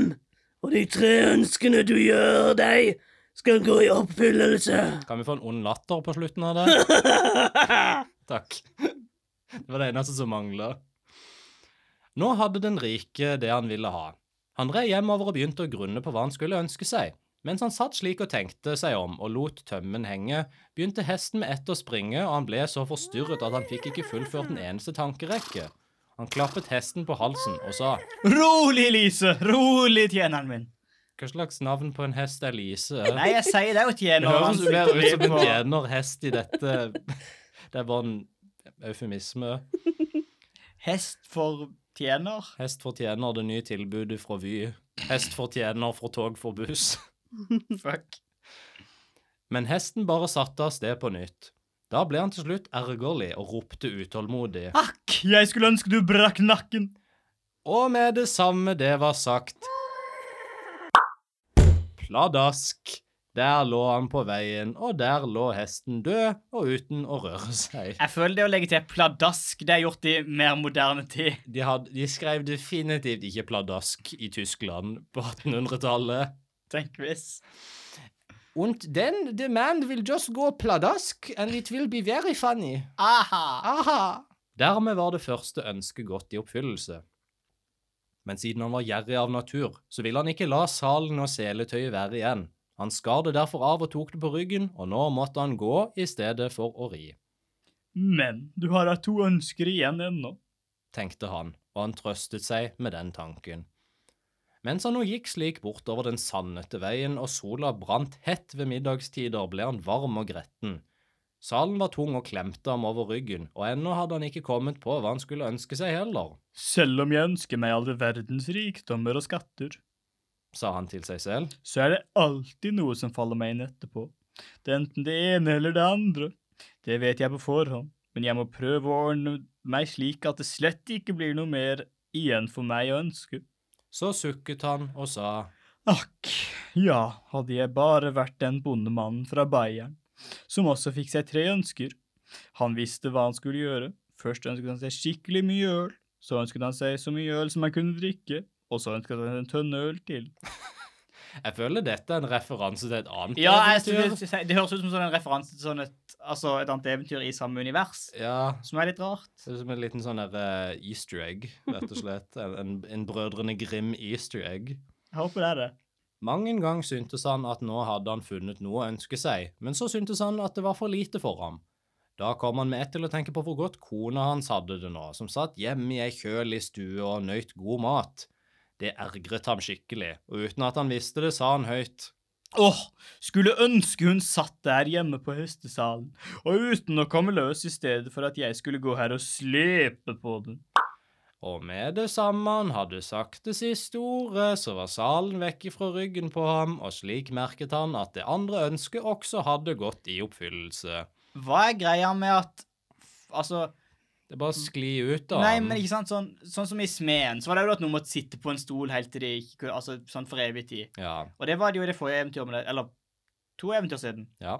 Speaker 2: og de tre ønskene du gjør deg, skal gå i oppfyllelse.
Speaker 4: kan vi få en ond latter på slutten av det? Takk. Det var det eneste som mangla. Nå hadde den rike det han ville ha. Han red hjemover og begynte å grunne på hva han skulle ønske seg. Mens han satt slik og tenkte seg om og lot tømmen henge, begynte hesten med ett å springe, og han ble så forstyrret at han fikk ikke fullført en eneste tankerekke. Han klappet hesten på halsen og sa
Speaker 3: Rolig, Lise. Rolig, tjeneren min.
Speaker 4: Hva slags navn på en hest er Lise?
Speaker 3: Nei, jeg sier det er jo
Speaker 4: det
Speaker 3: tjener.
Speaker 4: høres mer ut som en
Speaker 3: på-
Speaker 4: tjenerhest i dette Det er bare en eufemisme.
Speaker 3: Hest for tjener.
Speaker 4: Hest fortjener det nye tilbudet fra Vy. Hest fortjener fra tog for buss.
Speaker 3: Fuck.
Speaker 4: Men hesten bare satte av sted på nytt. Da ble han til slutt ergerlig og ropte utålmodig.
Speaker 3: Akk, jeg skulle ønske du brakk nakken.
Speaker 4: Og med det samme det var sagt Pladask! Der lå han på veien, og der lå hesten død og uten å røre seg.
Speaker 3: Jeg føler det å legge til pladask, det er gjort i mer moderne tid.
Speaker 4: De, hadde, de skrev definitivt ikke pladask i Tyskland på 1800-tallet.
Speaker 3: Tenk hvis.
Speaker 4: Und then the man will just go pladask, and it will be very funny.
Speaker 3: Aha.
Speaker 4: Aha! Dermed var det første ønsket gått i oppfyllelse. Men siden han var gjerrig av natur, så ville han ikke la salen og seletøyet være igjen. Han skar det derfor av og tok det på ryggen, og nå måtte han gå i stedet for å ri,
Speaker 3: Men du har da to ønsker igjen ennå.
Speaker 4: tenkte han, og han trøstet seg med den tanken. Mens han nå gikk slik bortover den sandete veien og sola brant hett ved middagstider, ble han varm og gretten. Salen var tung og klemte ham over ryggen, og ennå hadde han ikke kommet på hva han skulle ønske seg heller.
Speaker 3: Selv om jeg ønsker meg all verdens rikdommer og skatter,
Speaker 4: sa han til seg selv.
Speaker 3: så er det alltid noe som faller meg inn etterpå. Det er enten det ene eller det andre. Det vet jeg på forhånd, men jeg må prøve å ordne meg slik at det slett ikke blir noe mer igjen for meg å ønske.
Speaker 4: Så sukket han og sa
Speaker 3: Akk, ja, hadde jeg bare vært den bondemannen fra Bayern, som også fikk seg tre ønsker. Han visste hva han skulle gjøre. Først ønsket han seg skikkelig mye øl, så ønsket han seg så mye øl som han kunne drikke, og så ønsket han seg en tønne øl til.
Speaker 4: Jeg føler dette er en referanse til et annet
Speaker 3: Ja,
Speaker 4: eventyr.
Speaker 3: det, høres ut som sånn en referanse til et, annet eventyr i samme univers,
Speaker 4: Ja,
Speaker 3: som er litt rart.
Speaker 4: det er som en liten sånn der eh, easter egg, rett og slett. En, en, en Brødrene Grim easter egg.
Speaker 3: Jeg håper det er det.
Speaker 4: Mang en gang syntes han at nå hadde han funnet noe å ønske seg, men så syntes han at det var for lite for ham. Da kom han med ett til å tenke på hvor godt kona hans hadde det nå, som satt hjemme i ei kjølig stue og nøyt god mat. Det ergret ham skikkelig, og uten at han visste det, sa han høyt.
Speaker 3: Åh, skulle ønske hun satt der hjemme på hestesalen, og uten å komme løs i stedet for at jeg skulle gå her og slepe på den.
Speaker 4: Og med det samme han hadde sagt det siste ordet, så var salen vekk fra ryggen på ham, og slik merket han at det andre ønsket også hadde gått i oppfyllelse.
Speaker 3: Hva er greia med at Altså
Speaker 4: Det bare skli ut av
Speaker 3: Nei,
Speaker 4: ham.
Speaker 3: men ikke sant, sånn, sånn som i Smeden, så var det jo at noen måtte sitte på en stol helt til de ikke kunne Altså sånn for evig tid.
Speaker 4: Ja,
Speaker 3: Og det var det jo i det forrige eventyret med det, eller to eventyr siden.
Speaker 4: ja.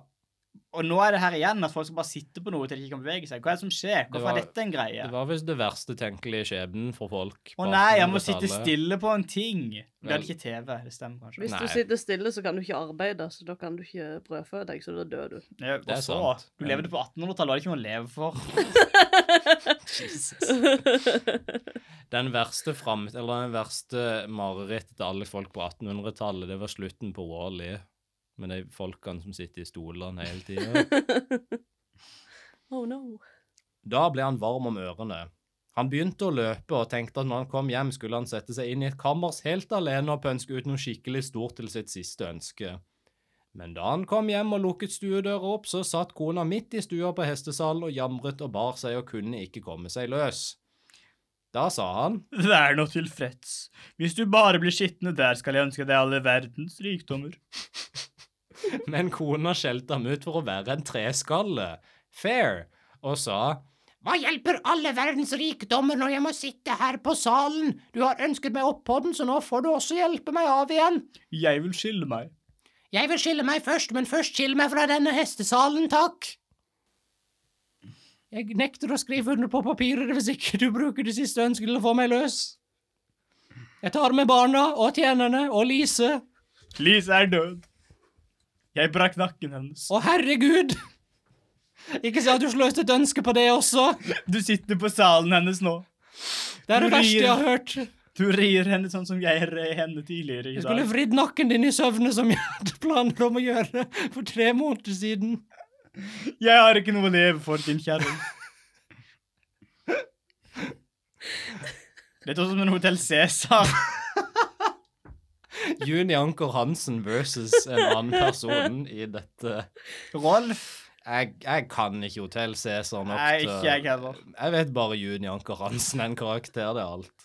Speaker 3: Og nå er det her igjen, at folk skal bare sitte på noe til de ikke kan bevege seg. Hva er det som skjer? Hvorfor
Speaker 4: var-
Speaker 3: er dette en greie?
Speaker 4: Det var visst det verste tenkelige skjebnen for folk.
Speaker 3: Å nei, jeg må
Speaker 4: Bakom
Speaker 3: sitte
Speaker 4: det tallet.
Speaker 3: stille på en ting. Vi
Speaker 4: Vel.
Speaker 3: hadde ikke TV, det stemmer kanskje.
Speaker 2: Hvis
Speaker 4: Nei.
Speaker 2: du sitter stille, så kan du ikke arbeide, så da kan du ikke brødfø deg, så da dør du.
Speaker 3: Ja,
Speaker 4: Det er
Speaker 3: og så,
Speaker 4: sant.
Speaker 3: Du levde på 1800-tallet, du hadde ikke noe å leve for.
Speaker 4: Den verste, fram, eller den verste marerittet til alle folk på 1800-tallet, det var slutten på Wall-E. Med de folkene som sitter i stolene hele tida.
Speaker 2: oh no.
Speaker 4: Da ble han varm om ørene. Han begynte å løpe og tenkte at når han kom hjem, skulle han sette seg inn i et kammers helt alene og pønske ut noe skikkelig stort til sitt siste ønske. Men da han kom hjem og lukket stuedøra opp, så satt kona midt i stua på hestesalen og jamret og bar seg og kunne ikke komme seg løs. Da sa han,
Speaker 3: Vær nå tilfreds. Hvis du bare blir skitne der, skal jeg ønske deg alle verdens rikdommer.
Speaker 4: men kona skjelte ham ut for å være en treskalle, fair, og sa,
Speaker 5: Hva hjelper alle verdens rikdommer når jeg må sitte her på salen? Du har ønsket meg opp på den, så nå får du også hjelpe meg av igjen.
Speaker 3: Jeg vil skille meg.
Speaker 5: Jeg vil skille meg først, men først skill meg fra denne hestesalen, takk. Jeg nekter å skrive under på papiret hvis ikke du bruker det siste ønsket til å få meg løs.
Speaker 4: jeg tar med barna og tjenerne og Lise,
Speaker 3: Lise er død. Jeg brakk nakken hennes.
Speaker 4: Å, herregud! Ikke si at du sløste et ønske på det også.
Speaker 3: Du sitter på salen hennes nå.
Speaker 4: Det er det
Speaker 3: Du
Speaker 4: verste
Speaker 3: rir.
Speaker 4: jeg har hørt. Jeg
Speaker 3: Du rir henne sånn som jeg red henne tidligere i
Speaker 4: skulle
Speaker 3: dag.
Speaker 4: vridd nakken din i søvne, som jeg hadde planer om å gjøre for tre måneder siden.
Speaker 3: Jeg har ikke noe å leve for, din kjerring. Det er sånn som en Hotell Cæsar.
Speaker 4: Juni Anker Hansen versus en annen person i dette.
Speaker 3: Rolf.
Speaker 4: Jeg, jeg kan ikke Hotell Cæsar nok
Speaker 3: Nei, ikke jeg heller.
Speaker 4: Jeg vet bare Juni Anker Hansen, en karakter, det er alt.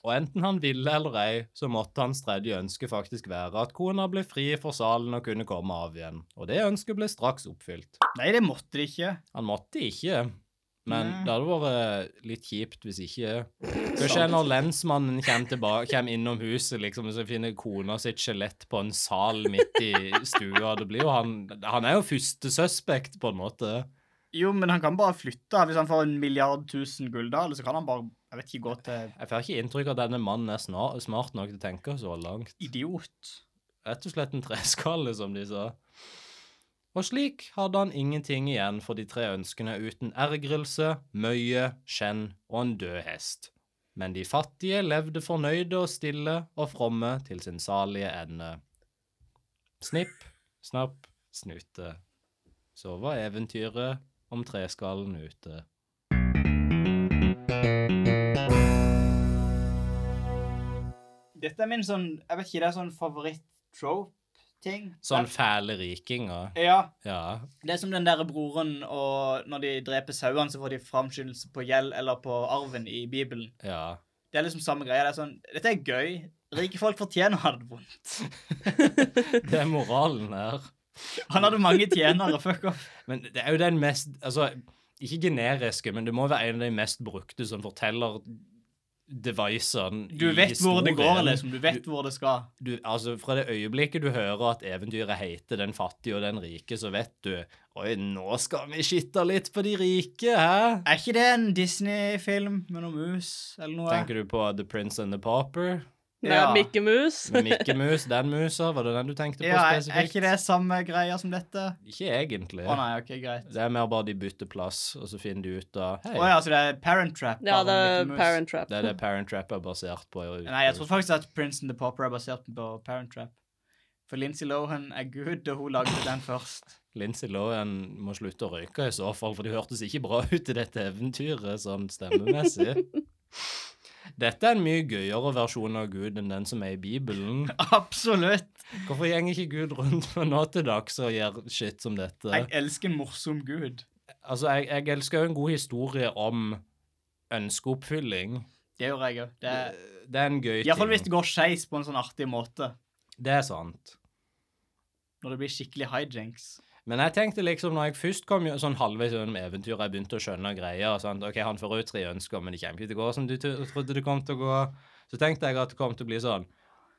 Speaker 4: Og enten han ville eller ei, så måtte hans tredje ønske faktisk være at kona ble fri for salen og kunne komme av igjen. Og det ønsket ble straks oppfylt.
Speaker 3: Nei, det måtte de ikke.
Speaker 4: Han måtte ikke, men
Speaker 3: Nei.
Speaker 4: det hadde vært litt kjipt hvis ikke. Kanskje når lensmannen kommer, tilbake, kommer innom huset liksom, og så finner kona sitt skjelett på en sal midt i stua. Det blir jo han, han er jo første suspect, på en måte.
Speaker 3: Jo, men han kan bare flytte. Hvis han får en milliard tusen gulldaler, så kan han bare jeg vet ikke, gå til
Speaker 4: Jeg får ikke inntrykk av at denne mannen er snar, smart nok til å tenke så langt.
Speaker 3: idiot.
Speaker 4: Rett og slett en treskalle, som de sa. Og slik hadde han ingenting igjen for de tre ønskene uten ergrelse, møye, skjenn og en død hest. Men de fattige levde fornøyde og stille og fromme til sin salige ende. Snipp, snapp, snute. Så var eventyret om treskallen ute.
Speaker 3: Dette er min sånn Jeg vet ikke, det er sånn favoritt-trope-ting.
Speaker 4: Sånn fæle rikinger.
Speaker 3: Ja.
Speaker 4: Ja.
Speaker 3: Det er som den der broren, og når de dreper sauene, så får de framskyndelse på gjeld eller på arven i Bibelen.
Speaker 4: Ja.
Speaker 3: Det er liksom samme greia. Det er sånn Dette er gøy. Rike folk fortjener å ha det vondt.
Speaker 4: Det er moralen her.
Speaker 3: Han hadde mange tjenere, fuck off.
Speaker 4: Men det er jo den mest Altså, ikke generiske, men det må være en av de mest brukte som forteller devicene
Speaker 3: Du
Speaker 4: i
Speaker 3: vet hvor det går,
Speaker 4: historien.
Speaker 3: liksom. Du vet hvor det skal.
Speaker 4: Du, altså, fra det øyeblikket du hører at eventyret heter Den fattige og den rike, så vet du Oi, nå skal vi skitte litt på de rike, hæ?
Speaker 3: Er ikke det en Disney-film med noe mus eller noe?
Speaker 4: Tenker du på The Prince and the Popper?
Speaker 2: Nei,
Speaker 3: Ja.
Speaker 2: Mikke Mus.
Speaker 4: Med Mikke Mus, den musa? Var det den du tenkte på
Speaker 3: Ja, er, er
Speaker 4: spesifikt?
Speaker 3: ikke det samme greia som dette?
Speaker 4: Ikke egentlig.
Speaker 3: Å nei, ok, greit.
Speaker 4: Det er mer bare de bytter plass, og så finner de ut av Hei,
Speaker 3: Å ja, så det er Parent Trap?
Speaker 2: Ja,
Speaker 3: bare
Speaker 2: det
Speaker 3: med
Speaker 2: er
Speaker 3: Mickey Mouse.
Speaker 2: Parent Trap.
Speaker 4: det er det Parent Trap er basert på.
Speaker 3: Nei, jeg tror faktisk at Prince and the Popper er basert på Parent Trap. For Lindsay Lohan er good, og hun lagde den først.
Speaker 4: Lindsay Lohan må slutte å røyke i så fall, for de hørtes ikke bra ut i dette eventyret, sånn stemmemessig. Dette er en mye gøyere versjon av Gud enn den som er i Bibelen.
Speaker 3: Absolutt!
Speaker 4: Hvorfor gjenger ikke Gud rundt med nå til dags og gjør shit som dette?
Speaker 3: Jeg elsker en morsom gud.
Speaker 4: Altså, jeg, jeg elsker jo en god historie om ønskeoppfylling,
Speaker 3: Det gjorde jeg òg. Det er
Speaker 4: det er en gøy ting.
Speaker 3: Iallfall hvis det går skeis på en sånn artig måte.
Speaker 4: Det er sant.
Speaker 3: Når det blir skikkelig hijinks.
Speaker 4: Men jeg tenkte liksom, når jeg først kom jo sånn halvveis gjennom eventyret, jeg begynte å skjønne greier og sånn, ok, han får ut tre ønsker, men det kommer ikke til å gå som du t- trodde det kom til å gå. Så tenkte jeg at det kom til å bli sånn,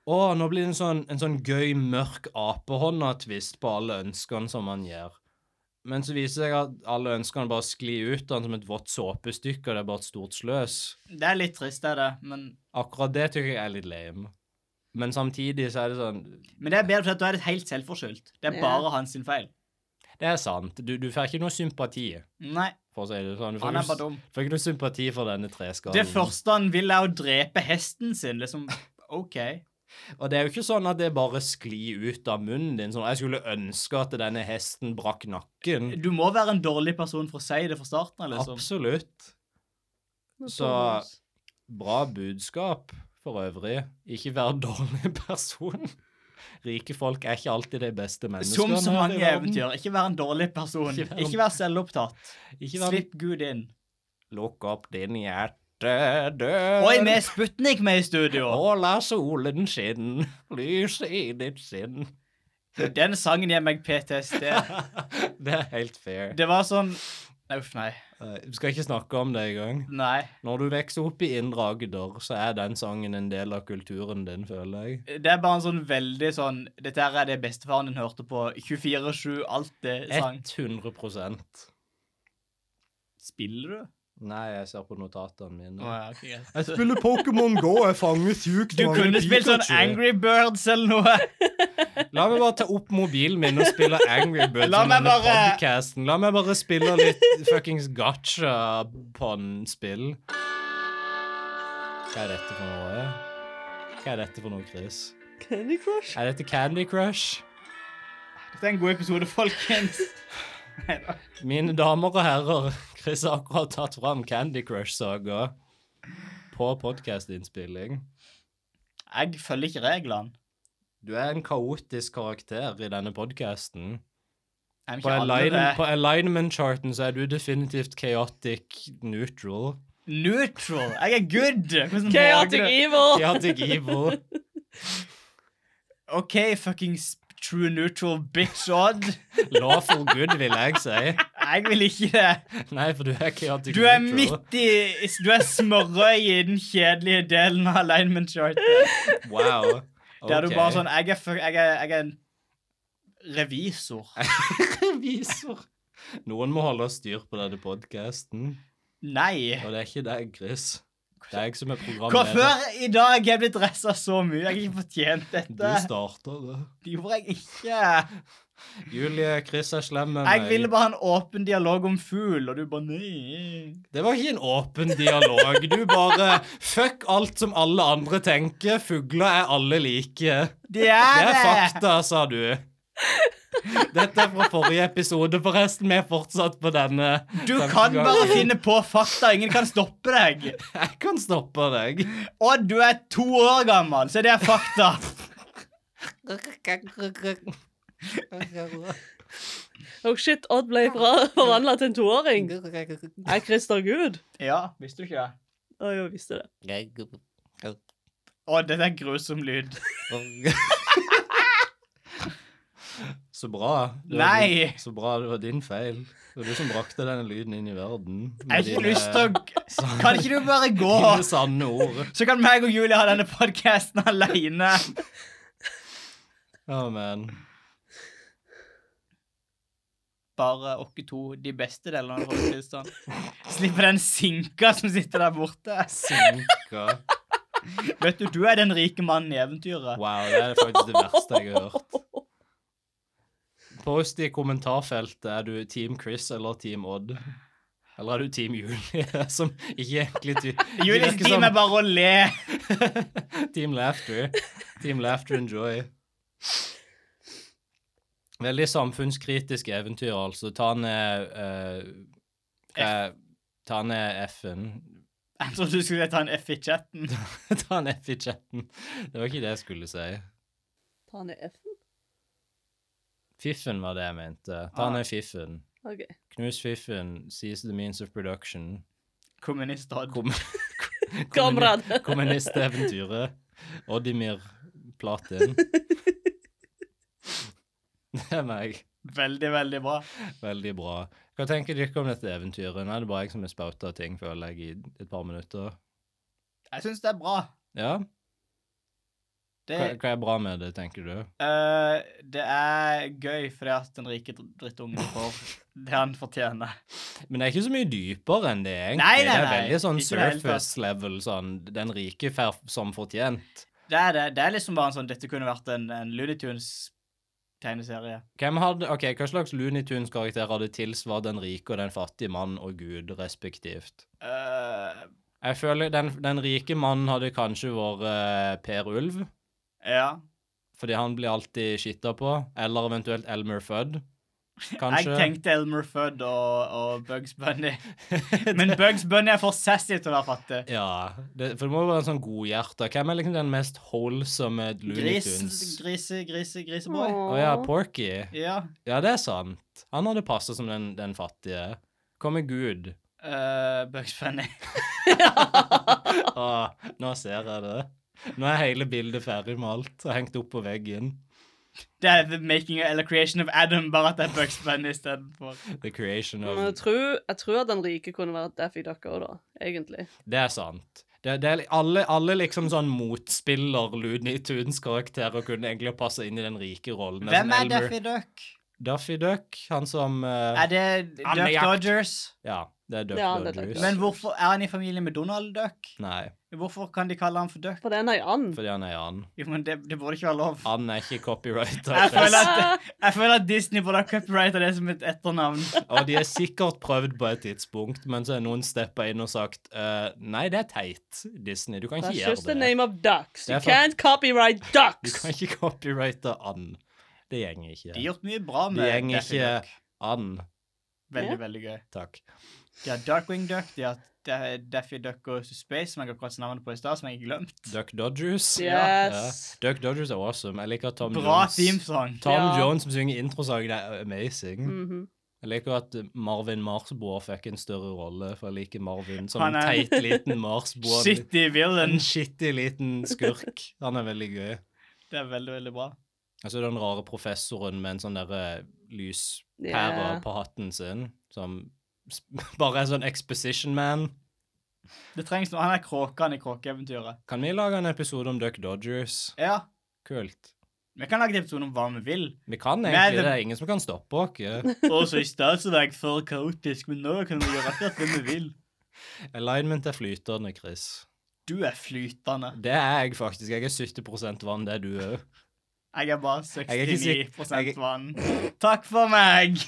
Speaker 4: å, nå blir det en sånn, en sånn gøy, mørk apehånda-twist på alle ønskene som han gjør. Men så viser det seg at alle ønskene bare sklir ut av han som et vått såpestykke, og det er bare et stort sløs.
Speaker 3: Det er litt trist, det er det, men,
Speaker 4: Akkurat det tykker jeg er litt lame. Men samtidig så er det sånn,
Speaker 3: men det er bedre, for at da er det helt selvforskyldt. Det er
Speaker 2: Ja.
Speaker 3: bare hans sin feil.
Speaker 4: det er sant, du, du får ikke noe sympati,
Speaker 3: Nei,
Speaker 4: for å si det sånn. Du får
Speaker 3: han
Speaker 4: ikke-
Speaker 3: er bare dum.
Speaker 4: Får ikke noe sympati for denne treskallen.
Speaker 3: Det første han vil, er å drepe hesten sin. Liksom, OK.
Speaker 4: Og det er jo ikke sånn at det bare sklir ut av munnen din. Sånn, jeg skulle ønske at denne hesten brakk nakken.
Speaker 3: Du må være en dårlig person for å si det fra starten av, liksom.
Speaker 4: Absolutt.
Speaker 2: Nå
Speaker 4: Så-
Speaker 2: prøver vi oss.
Speaker 4: Bra budskap for øvrig. Ikke vær dårlig person. Rike folk er ikke alltid de beste
Speaker 3: Som
Speaker 4: menneskene.
Speaker 3: så
Speaker 4: her i
Speaker 3: mange
Speaker 4: verden.
Speaker 3: eventyr. Ikke vær en dårlig person.
Speaker 4: Ikke vær en-
Speaker 3: Ikke vær selvopptatt.
Speaker 4: Ikke vær...
Speaker 3: Slipp Gud inn.
Speaker 4: Lukk opp din hjertedør.
Speaker 3: Oi, vi er Sputnik med i studio.
Speaker 4: Og la solen skinne, lyset i ditt sinn.
Speaker 3: Den sangen gir meg PTSD.
Speaker 4: Det er helt fair.
Speaker 3: Det var sånn Nei, Uff, nei.
Speaker 4: Eh, Vi skal ikke snakke om det engang.
Speaker 3: Nei.
Speaker 4: Når du vokser opp i Indre Agder, så er den sangen en del av kulturen din, føler jeg.
Speaker 3: Det er bare en sånn veldig sånn Dette her er det bestefaren din hørte på 24-7, alt det sang.
Speaker 4: 100
Speaker 3: Spiller du?
Speaker 4: Nei, jeg ser på notatene mine.
Speaker 3: Å, ja, ok, greit.
Speaker 4: Jeg spiller Pokémon Go, jeg fanger sjukt
Speaker 3: Du kunne spilt sånn Angry Birds eller noe.
Speaker 4: La meg bare ta opp mobilen min og spille Angry Birds.
Speaker 3: La
Speaker 4: i
Speaker 3: meg
Speaker 4: denne
Speaker 3: bare-
Speaker 4: podcasten. La meg bare spille litt fuckings gacha-pon-spill. Hva er dette for noe? Hva er dette for noe, Chris?
Speaker 2: Candy Crush.
Speaker 4: Er dette Candy Crush?
Speaker 3: Dette er en god episode, folkens. Neida.
Speaker 4: Mine damer og herrer, Chris har akkurat tatt fram Candy Crush-saga på podcastinnspilling.
Speaker 3: Jeg følger ikke reglene.
Speaker 4: Du er en kaotisk karakter i denne podcasten.
Speaker 3: Jeg er
Speaker 4: På,
Speaker 3: ikke alle
Speaker 4: align
Speaker 3: det.
Speaker 4: på alignment-charten så er du definitivt chaotic neutral.
Speaker 3: Neutral. Jeg er good. Hvordan
Speaker 2: Chaotic
Speaker 3: våger du?
Speaker 2: Evil.
Speaker 4: Chaotic evil.
Speaker 3: OK, fucking sp- true neutral bitch odd.
Speaker 4: Lawful good, vil jeg si.
Speaker 3: Jeg vil ikke det.
Speaker 4: Nei, for du er chaotic
Speaker 3: Du er
Speaker 4: neutral.
Speaker 3: midt i Du er smørøy i den kjedelige delen av alignment chartet.
Speaker 4: Wow.
Speaker 3: Der du
Speaker 4: Ok.
Speaker 3: bare sånn Jeg er, fuck- jeg er, jeg er en revisor.
Speaker 4: Revisor. Noen må holde styr på denne podcasten.
Speaker 3: Nei.
Speaker 4: Og det er ikke deg, Chris. Det er jeg som er programleder.
Speaker 3: Hvorfor i dag er jeg blitt dressa så mye? Jeg har ikke fortjent
Speaker 4: Du
Speaker 3: dette.
Speaker 4: starter det.
Speaker 3: Det gjorde jeg ikke.
Speaker 4: Julie, Chris er slem med
Speaker 3: Jeg
Speaker 4: meg.
Speaker 3: ville bare ha en åpen dialog om fugl, og du bare nei.
Speaker 4: Det var ikke en åpen dialog. Du bare fuck alt som alle andre tenker. Fugler er alle like.
Speaker 3: Det
Speaker 4: Det
Speaker 3: er
Speaker 4: er
Speaker 3: det!
Speaker 4: fakta, sa du. Dette er fra forrige episode, forresten. Vi er fortsatt på denne.
Speaker 3: Du kan
Speaker 4: tankegangen.
Speaker 3: bare finne på fakta. Ingen kan stoppe deg.
Speaker 4: Jeg kan stoppe deg.
Speaker 3: Og du er to år gammel, så det er fakta.
Speaker 2: Oh shit, Odd ble fra- forvandlet til en toåring. Er Christer Gud?
Speaker 3: Ja, visste du ikke det?
Speaker 2: Å jo, jeg visste det.
Speaker 3: Å, dette er grusom lyd.
Speaker 4: Så bra. Det var
Speaker 3: Nei.
Speaker 4: din- Så bra, det var din feil. Det var du som brakte denne lyden inn i verden.
Speaker 3: Jeg har ikke lyst til å Kan ikke du bare gå?
Speaker 4: Dine sanne ord.
Speaker 3: Så kan meg og Julie ha denne podkasten aleine.
Speaker 4: Ja, men.
Speaker 3: Bare dere to, de beste delene av folketilstand. Slipper den sinka som sitter der borte.
Speaker 4: Sinka.
Speaker 3: Vet du, du er den rike mannen i eventyret.
Speaker 4: Wow, det er faktisk det verste jeg har hørt. Post i kommentarfeltet er du Team Chris eller Team Odd. Eller er du Team Julie, som ikke egentlig ty Det
Speaker 3: Julies
Speaker 4: virker
Speaker 3: team
Speaker 4: som
Speaker 3: er bare å le.
Speaker 4: Team Laughter. Team Laughter and Joy. Veldig samfunnskritisk eventyr, altså. Ta ned eh, hva- Ta ned F-en.
Speaker 3: Jeg trodde du skulle ta en F i chatten.
Speaker 4: Ta en F i chatten. Det var ikke det jeg skulle si.
Speaker 2: Ta ned F-en.
Speaker 4: Fiffen var det jeg mente.
Speaker 3: Ah.
Speaker 4: Ta ned Fiffen.
Speaker 2: OK.
Speaker 4: Knus Fiffen, Seize the Means of Production.
Speaker 3: Kommunistad.
Speaker 4: Kom,
Speaker 2: Kamerat.
Speaker 4: Kommunisteventyret. Oddimir Platin. Det er meg.
Speaker 3: Veldig, veldig bra.
Speaker 4: Veldig bra. Hva tenker dere om dette eventyret? Nå er det bare jeg som har spouta ting, føler jeg, i et par minutter.
Speaker 3: Jeg syns det er bra.
Speaker 4: Ja?
Speaker 3: Det,
Speaker 4: Hva, hva er bra med det, tenker du?
Speaker 3: eh, det er gøy fordi at den rike dr- drittungen får det han fortjener.
Speaker 4: Men det er ikke så mye dypere enn det, egentlig.
Speaker 3: Nei, nei,
Speaker 4: det er
Speaker 3: nei.
Speaker 4: veldig sånn
Speaker 3: Ikke i det hele tatt.
Speaker 4: surface level, sånn den rike får som fortjent.
Speaker 3: Det er, det, det er liksom bare en sånn Dette kunne vært en, en Looney Tunes-tegneserie.
Speaker 4: Hvem hadde, ok, Hva slags Looney Tunes-karakter hadde tilsvart den rike og den fattige mann og gud, respektivt?
Speaker 3: Eh,
Speaker 4: Jeg føler den, den rike mannen hadde kanskje vært eh, Per Ulv,
Speaker 3: ja.
Speaker 4: fordi han blir alltid skitta på. Eller eventuelt Elmer Fudd,
Speaker 3: Jeg
Speaker 4: kanskje.
Speaker 3: tenkte Elmer Fudd og, og Bugs Bunny. Men Bugs Bunny er for sassy til å være fattig.
Speaker 4: Ja, det, for det må jo være en sånn godhjerta. Hvem er liksom den mest wholesome Looney Tunes?
Speaker 3: Gris, grise, grise, griseboy.
Speaker 4: Å
Speaker 2: Åh.
Speaker 4: ja, Porky.
Speaker 3: Ja.
Speaker 4: Ja, det er sant. Han hadde passa som den, den fattige. Hva med Gud?
Speaker 3: eh, Bugs Bunny.
Speaker 4: Ah, nå ser jeg det. Nå er hele bildet ferdigmalt og hengt opp på veggen.
Speaker 3: Det er The Making of, eller Creation of Adam, bare at det er Bugs Bunny istedenfor.
Speaker 4: The creation
Speaker 2: Men jeg
Speaker 4: of
Speaker 2: tror, jeg tror at den rike kunne vært Daffy Duck òg, da. Egentlig.
Speaker 4: Det er sant. Det, det er, li- alle, alle liksom sånn motspiller Looney Tunes-karakterer kunne egentlig passe inn i den rike rollen. Det
Speaker 3: Hvem
Speaker 4: sånn
Speaker 3: er
Speaker 4: Elmer-
Speaker 3: Daffy Duck?
Speaker 4: Duck? Daffy Duck, han som eh,
Speaker 3: Er det
Speaker 4: Han er
Speaker 3: Duck
Speaker 4: jakt.
Speaker 3: Dodgers?
Speaker 4: Ja, det er Duck
Speaker 2: Ja, det er Duck
Speaker 4: Dodgers.
Speaker 2: Dodgers.
Speaker 3: Men hvorfor er han i familie med Donald Duck?
Speaker 4: Nei,
Speaker 3: Hvorfor kan de kalle han for Duck?
Speaker 2: For det er en and.
Speaker 4: fordi han er Jan.
Speaker 3: Jo, men det, det burde ikke være lov.
Speaker 4: Han er ikke copyrighta.
Speaker 3: Jeg føler at, jeg føler at Disney burde ha copyrighta det som et etternavn.
Speaker 4: Og de har sikkert prøvd på et tidspunkt, men så har noen steppa inn og sagt eh, Nei, det er teit, Disney. Du kan ikke
Speaker 2: That's just the
Speaker 4: gjøre det.
Speaker 2: name of ducks.
Speaker 4: Det er
Speaker 2: You
Speaker 4: fa-
Speaker 2: can't copyright
Speaker 4: Du
Speaker 2: ducks!
Speaker 4: kan ikke copyrighte and. Det gjenger
Speaker 3: De har
Speaker 4: ikke.
Speaker 3: gjort mye bra med
Speaker 4: Det gjenger
Speaker 3: Daffy
Speaker 4: ikke
Speaker 3: Duck.
Speaker 4: and.
Speaker 3: Veldig,
Speaker 2: Ja.
Speaker 3: veldig gøy.
Speaker 4: Takk.
Speaker 3: De har Darkwing Duck, de har Da- Daffy Duck og Space, som jeg akkurat sa navnet på i stad, som jeg har glemt.
Speaker 4: Duck Dodgers.
Speaker 2: Yes.
Speaker 4: Duck Dodgers er awesome. Jeg liker at Tom
Speaker 3: Bra
Speaker 4: Jones
Speaker 3: themesong.
Speaker 4: Tom
Speaker 2: Ja.
Speaker 4: Jones som synger introsangen, det er amazing.
Speaker 3: Mm.
Speaker 2: Mhm.
Speaker 4: Jeg liker at Marvin Marsboer fikk en større rolle, for jeg liker Marvin som
Speaker 3: Han
Speaker 4: en
Speaker 3: er-
Speaker 4: teit liten Marsboer.
Speaker 3: Shitty villain.
Speaker 4: En skittig liten skurk. Han er veldig gøy.
Speaker 3: Det er veldig, veldig bra.
Speaker 4: Og så er det den rare professoren med en sånn derre lyspære
Speaker 2: Ja.
Speaker 4: på hatten sin, som s- bare er sånn exposition man.
Speaker 3: Det trengs noe. Han er kråkene i Kråkeeventyret.
Speaker 4: Kan vi lage en episode om Duck Dodgers?
Speaker 3: Ja.
Speaker 4: Kult.
Speaker 3: Vi kan lage en episode om hva vi vil.
Speaker 4: Vi kan
Speaker 3: Nei, det-
Speaker 4: egentlig det. Det er ingen som kan stoppe oss.
Speaker 3: Og så i stad så var jeg for kaotisk, men nå kan vi gjøre akkurat det vi vil.
Speaker 4: Alignment er flytende, Chris.
Speaker 3: Du er flytende.
Speaker 4: Det er jeg faktisk. Jeg er 70 vann, det er du òg.
Speaker 3: Jeg er bare
Speaker 4: er ikke sikker-
Speaker 3: 69
Speaker 4: jeg er-
Speaker 3: vann. Takk for meg!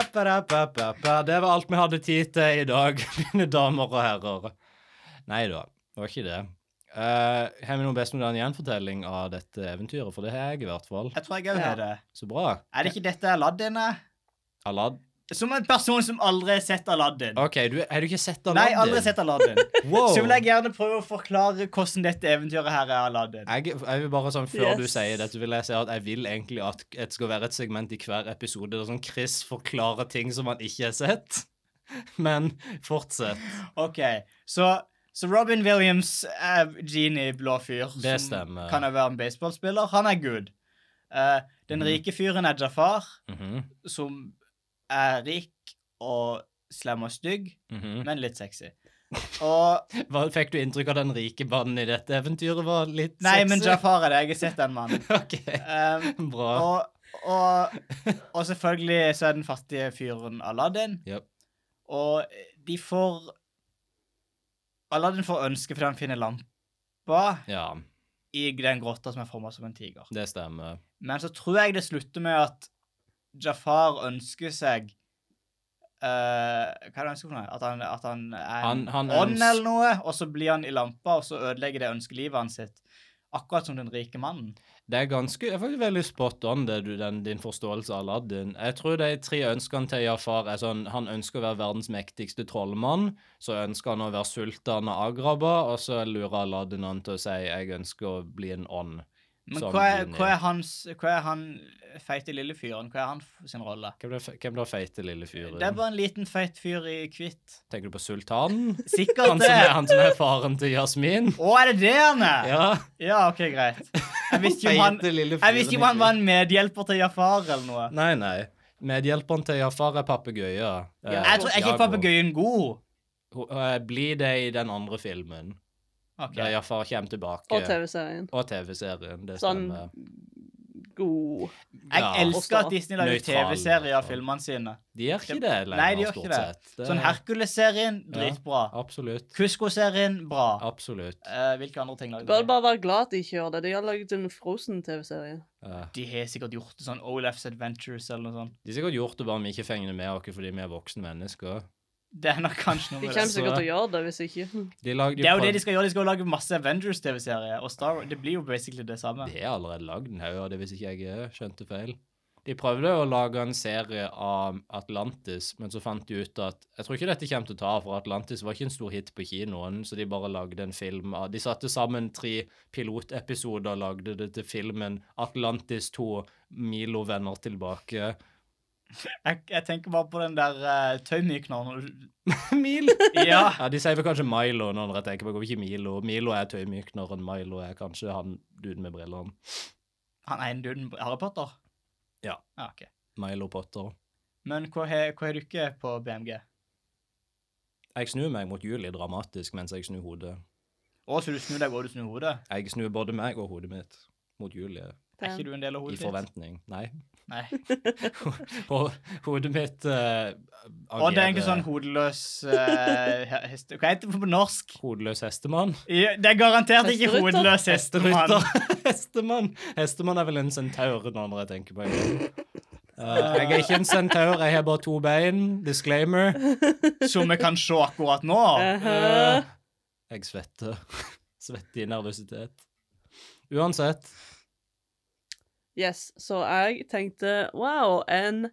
Speaker 4: Det var alt vi hadde tid til i dag, mine damer og herrer. Nei da, det var ikke det. Eh, har vi noen best moderne gjenfortelling av dette eventyret? For det har jeg i hvert fall.
Speaker 3: Jeg tror jeg òg
Speaker 2: Ja.
Speaker 3: har det.
Speaker 4: Så bra.
Speaker 3: Er det ikke dette Aladdin er?
Speaker 4: Alad...
Speaker 3: Som en person som aldri har sett Aladdin.
Speaker 4: OK, du, har du ikke sett Aladdin?
Speaker 3: Nei, aldri sett Aladdin.
Speaker 4: Wow.
Speaker 3: Så vil jeg gjerne prøve å forklare hvordan dette eventyret her er Aladdin.
Speaker 4: Jeg, jeg vil bare sånn, Før du
Speaker 2: Yes.
Speaker 4: sier dette, vil jeg si at jeg vil egentlig at det skal være et segment i hver episode der sånn Chris forklarer ting som han ikke har sett. Men fortsett.
Speaker 3: OK, så, så Robin Williams er genie blå fyr.
Speaker 4: Det
Speaker 3: som
Speaker 4: stemmer.
Speaker 3: Kan også være en baseballspiller. Han er good. Eh, den
Speaker 4: Mhm.
Speaker 3: rike fyren er Jafar,
Speaker 4: Mhm,
Speaker 3: som er rik og slem og stygg,
Speaker 4: mhm.
Speaker 3: men litt sexy. Og
Speaker 4: Hva, fikk du inntrykk av den rike mannen i dette eventyret var litt
Speaker 3: Nei,
Speaker 4: sexy?
Speaker 3: men Jafar er det. Jeg har sett den mannen.
Speaker 4: OK,
Speaker 3: Um,
Speaker 4: bra.
Speaker 3: og, og, og selvfølgelig så er den fattige fyren Aladdin.
Speaker 4: Japp.
Speaker 3: Og eh, de får Aladdin får ønske fordi han finner lampa
Speaker 4: Ja,
Speaker 3: i den grotta som er forma som en tiger.
Speaker 4: det stemmer.
Speaker 3: Men så tror jeg det slutter med at Jafar ønsker seg eh, Hva er det han ønsker for noe? At han, at han er en
Speaker 4: Han- han
Speaker 3: ånd
Speaker 4: øns-
Speaker 3: eller noe, og så blir han i lampa, og så ødelegger det ønskelivet hans sitt. Akkurat som den rike mannen.
Speaker 4: Det er ganske, jeg er faktisk veldig spot on det du, den, din forståelse av Aladdin. Jeg tror de tre ønskene til Jafar er sånn Han ønsker å være verdens mektigste trollmann. Så ønsker han å være sultan av Agraba, og så lurer Aladdin han til å si jeg ønsker å bli en ånd.
Speaker 3: Men
Speaker 4: Som
Speaker 3: hva er,
Speaker 4: Juni.
Speaker 3: hva er hans Hva er han feite lille fyren? Hva er han f- sin rolle?
Speaker 4: Hvem da- Hvem da feite lille fyren?
Speaker 3: Det er bare en liten feit fyr i hvitt.
Speaker 4: Tenker du på sultanen?
Speaker 3: Sikkert
Speaker 4: Han som,
Speaker 3: det.
Speaker 4: er, han som er faren til Jasmin?
Speaker 3: Å, er det det han er?
Speaker 4: Ja.
Speaker 3: Ja, OK, greit. Jeg visste jo han,
Speaker 4: Feite lille
Speaker 3: jeg visste jo
Speaker 4: fyren i
Speaker 3: han var en medhjelper til Jafar eller noe.
Speaker 4: Nei, nei. Medhjelperen til Jafar er papegøya. Eh,
Speaker 3: Jeg tror er ikke
Speaker 4: Jago.
Speaker 3: papegøyen god.
Speaker 4: Hun- eh, Blir det i den andre filmen,
Speaker 3: Ok.
Speaker 4: der Jafar kommer tilbake.
Speaker 2: Og TV-serien.
Speaker 4: Og TV-serien. Det
Speaker 2: Sånn
Speaker 4: stemmer.
Speaker 2: god
Speaker 3: Jeg
Speaker 4: Ja.
Speaker 3: elsker at Disney lager
Speaker 4: Nøytral,
Speaker 3: TV-serier av
Speaker 4: altså.
Speaker 3: filmene sine.
Speaker 4: De gjør ikke det lenger,
Speaker 3: Nei, de gjør ikke
Speaker 4: stort
Speaker 3: det.
Speaker 4: sett.
Speaker 3: Sånn Hercules-serien, dritbra.
Speaker 4: Absolutt.
Speaker 3: Kusko-serien, bra.
Speaker 4: Absolutt.
Speaker 3: Eh, hvilke andre ting lager
Speaker 2: Bør
Speaker 3: de?
Speaker 2: bare være glad at de ikke gjør det. De har laget en Frozen-TV-serie.
Speaker 4: Eh,
Speaker 3: De har sikkert gjort det sånn Olaf's Adventures eller noe sånt.
Speaker 4: de har sikkert gjort det bare vi ikke fenger det med oss fordi vi er voksne mennesker.
Speaker 3: Det er nok kanskje noe
Speaker 2: De
Speaker 3: med
Speaker 2: kommer
Speaker 3: det.
Speaker 2: sikkert til å gjøre det hvis ikke.
Speaker 4: De lagde
Speaker 3: Det er jo
Speaker 4: prøv-
Speaker 3: det de skal gjøre. De skal jo lage masse Avengers-TV-serier. Og Star Wars. Det blir jo basically det samme.
Speaker 4: Det er allerede lagd en haug av det, hvis ikke jeg eh, skjønte feil. De prøvde å lage en serie av Atlantis, men så fant de ut at Jeg tror ikke dette kommer til å ta, for Atlantis var ikke en stor hit på kinoen, så de bare lagde en film av De satte sammen tre pilotepisoder og lagde det til filmen Atlantis 2 Milo vender tilbake.
Speaker 3: Jeg, jeg tenker bare på den der uh, tøymykneren. når du-
Speaker 4: Milo!
Speaker 3: Ja.
Speaker 4: Ja, De sier vel kanskje Milo når jeg tenker på det, ikke Milo. Milo er tøymykneren, Milo er kanskje han duden med brillene.
Speaker 3: Han ene duden på Harry Potter? Ah,
Speaker 4: Ja.
Speaker 3: ok.
Speaker 4: Milo Potter.
Speaker 3: Men hva har hva har du ikke på BMG?
Speaker 4: Jeg snur meg mot Julie dramatisk mens jeg snur hodet.
Speaker 3: Å, så du snur deg og du snur hodet?
Speaker 4: Jeg snur både meg og hodet mitt mot Julie
Speaker 3: Er ikke du en del av
Speaker 4: i
Speaker 3: hodet ditt?
Speaker 4: forventning. Nei.
Speaker 3: Nei.
Speaker 4: Ho- hodet mitt uh,
Speaker 3: Og det er egentlig sånn hodeløs eh, hest... Hva heter det på norsk?
Speaker 4: hodeløs hestemann.
Speaker 3: Ja, Det er garantert ikke
Speaker 2: Hesterytter?
Speaker 3: hodeløs hestemann.
Speaker 4: Rytter. hestemann. Hestemann er vel en centaur nå når jeg tenker på det. Eh, jeg er ikke en centaur, jeg har bare to bein. Disclaimer.
Speaker 3: Som vi kan se akkurat nå.
Speaker 2: Uh,
Speaker 4: Eh, jeg svetter. Svetter i nervøsitet. Uansett.
Speaker 2: yes, så jeg tenkte wow, en,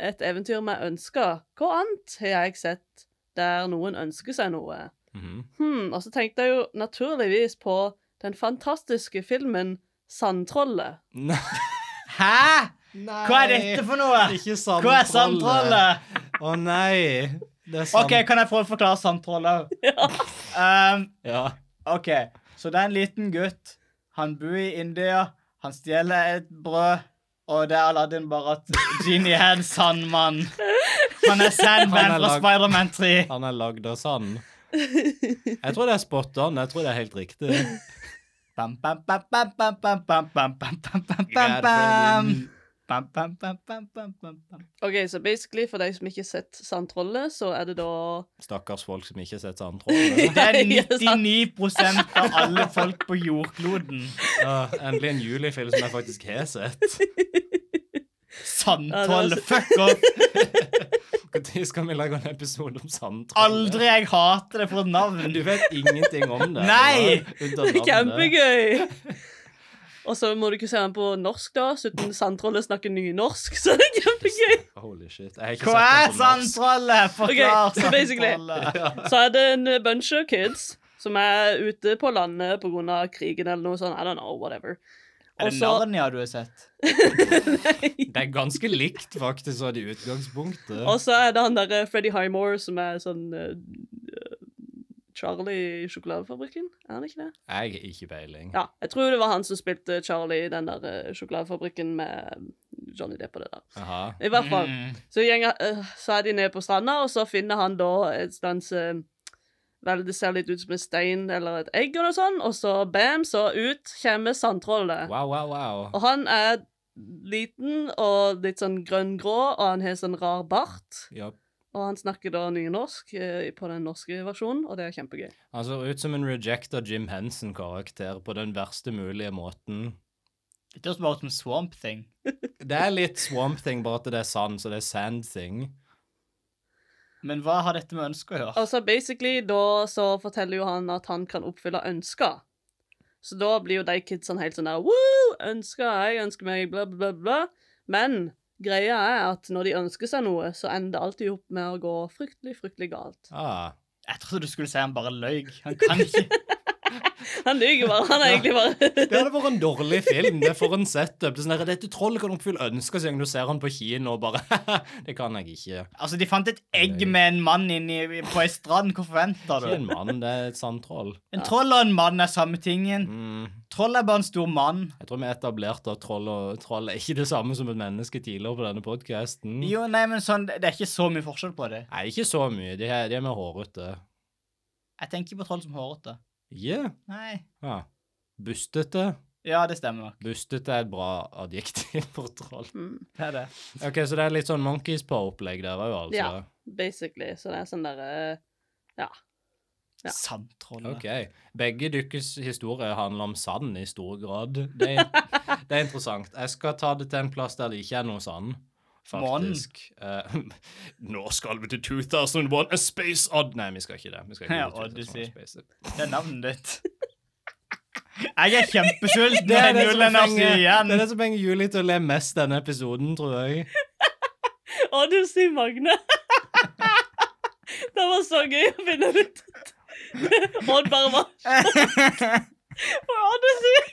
Speaker 2: et eventyr vi ønsker. Hva annet har jeg sett der noen ønsker seg noe?
Speaker 4: Mhm.
Speaker 2: Hmm, og så tenkte jeg jo naturligvis på den fantastiske filmen Sandtrollet.
Speaker 4: Nei.
Speaker 3: Hæ? Hva er dette for noe?
Speaker 4: Ikke
Speaker 3: Hva er samtrollet?
Speaker 4: Å nei. Det er sant.
Speaker 3: OK, kan jeg prøve å forklare samtrollet?
Speaker 2: Ja.
Speaker 3: Um,
Speaker 4: Ja.
Speaker 3: OK, så det er en liten gutt. Han bor i India. Han stjeler et brød. Og det er Aladdin bare at Genie er en sandmann. Han er
Speaker 4: Han
Speaker 3: Sandman
Speaker 4: er
Speaker 3: fra
Speaker 4: lag-
Speaker 3: Spiderman 3.
Speaker 4: Han er lagd av sand. Jeg tror det er spot on. Jeg tror det er helt riktig.
Speaker 3: Bam, bam, bam, bam, bam, bam, bam, bam, bam, bam, bam, bam, bam. Bam, bam, bam, bam, bam, bam, bam.
Speaker 2: OK, så basically, for de som ikke har sett Sandtrollet, så er det da
Speaker 4: Stakkars folk som ikke har sett sandtroll.
Speaker 3: Det er
Speaker 2: Ja, sant.
Speaker 3: 99 av alle folk på jordkloden.
Speaker 4: Ja, endelig en julefilm som jeg faktisk har sett.
Speaker 2: Ja,
Speaker 3: Sandtroll.
Speaker 2: det
Speaker 3: Fuck off.
Speaker 4: Når skal vi lage en episode om sandtroll?
Speaker 3: Aldri jeg hater det for et navn.
Speaker 4: Du vet ingenting om det.
Speaker 3: Nei!
Speaker 4: Det var under navnet.
Speaker 2: Kjempegøy! Og så må du ikke se den på norsk, da, siden Sandtrollet snakker nynorsk. Så det er kjempegøy!
Speaker 4: Holy shit. Jeg har ikke
Speaker 3: Hva er
Speaker 4: sett den på norsk.
Speaker 3: sandtrollet? Forklar
Speaker 2: Ok, så basically-
Speaker 3: sandtrollet.
Speaker 2: Så er det en bunch of kids som er ute på landet pga. krigen eller noe sånt. I don't know, whatever. Og
Speaker 3: Er det
Speaker 2: så
Speaker 3: Narnia du har sett?
Speaker 4: Det er ganske likt, faktisk, sånn i utgangspunktet.
Speaker 2: Og så er det han derre Freddy Highmore som er sånn eh, Charlie i sjokoladefabrikken? Er han ikke det?
Speaker 4: Jeg har ikke peiling.
Speaker 2: Ja, jeg tror det var han som spilte Charlie i den der eh, sjokoladefabrikken med Johnny Depp og det der.
Speaker 4: Aha.
Speaker 2: I hvert fall.
Speaker 3: Mm.
Speaker 2: Så, gjenger, eh, så er de nede på stranda, og så finner han da et slags eh, Vel, det ser litt ut som en stein eller et egg, eller noe sånt, og så bam, så ut kommer sandtrollet.
Speaker 4: Wow, wow, wow.
Speaker 2: Og han er liten og litt sånn grønn-grå, og han har sånn rar bart.
Speaker 4: Ja.
Speaker 2: Og han snakker da nynorsk eh, på den norske versjonen, og det er kjempegøy.
Speaker 4: Han ser ut som en rejecta Jim Henson-karakter på den verste mulige måten.
Speaker 3: Det høres bare ut som Swamp Thing.
Speaker 4: Det er litt Swamp Thing, bare at det er sand, så det er Sand Thing.
Speaker 3: Men hva har dette med ønsket å gjøre?
Speaker 2: Altså basically, da så forteller jo han at han kan oppfylle ønsker. Så da blir jo de kidsene helt sånn der Woo! Ønsker, jeg ønsker meg, bla, bla, bla, bla. Men greia er at når de ønsker seg noe, så ender det alltid opp med å gå fryktelig, fryktelig galt.
Speaker 4: Ah.
Speaker 3: Jeg trodde du skulle si han bare løy. Han kan ikke.
Speaker 2: Han lyver bare. Han er egentlig bare
Speaker 4: Det hadde vært en dårlig film. Det er for en setup. Det er sånn der, Dette trollet kan oppfylle ønsker siden du ser han på kino og bare Det kan jeg ikke.
Speaker 3: Altså, de fant et egg med en mann inni, på ei strand. Hva forventer
Speaker 4: Ikke en
Speaker 3: du?
Speaker 4: mann, det er et sant troll.
Speaker 3: En troll og en mann er samme tingen.
Speaker 4: Mm.
Speaker 3: Troll er bare en stor mann.
Speaker 4: Jeg tror vi etablerte at troll og troll er ikke det samme som et menneske tidligere på denne podkasten.
Speaker 3: Jo, nei, men sånn, det det er ikke så mye forskjell på det.
Speaker 4: Nei, ikke så mye. De er, de er mer hårete.
Speaker 3: Jeg tenker ikke på troll som hårete.
Speaker 4: Yeah.
Speaker 3: Nei.
Speaker 4: Ja. Ah. Bustete.
Speaker 3: Ja, det stemmer nok.
Speaker 4: Bustete er et bra adjektiv for troll.
Speaker 2: Mm,
Speaker 3: Det er det.
Speaker 4: Ok, Så det er litt sånn Monkeys Paw-opplegg der òg, altså?
Speaker 2: Ja. Basically. Så det er sånn derre Ja. Ja.
Speaker 3: Sandtrollet.
Speaker 4: Ok. Begge deres historier handler om sand i stor grad. Det er, det er interessant. Jeg skal ta det til en plass der det ikke er noe sand. Faktisk. Eh, nå skal vi til 2001 A Space Odd... Nei, vi skal ikke det. Vi skal ikke
Speaker 3: Ja,
Speaker 4: til 2001
Speaker 3: Odyssey.
Speaker 4: Space Odd.
Speaker 3: Det er navnet ditt. Jeg er kjempesulten.
Speaker 4: Det er det, som
Speaker 3: nullen av
Speaker 4: fenger, det er
Speaker 3: igjen.
Speaker 4: det som fenger Julie til å le mest denne episoden, tror jeg.
Speaker 2: Å, du sier Magne. det var så gøy å finne ut. Odd bare var Hva var det du sier?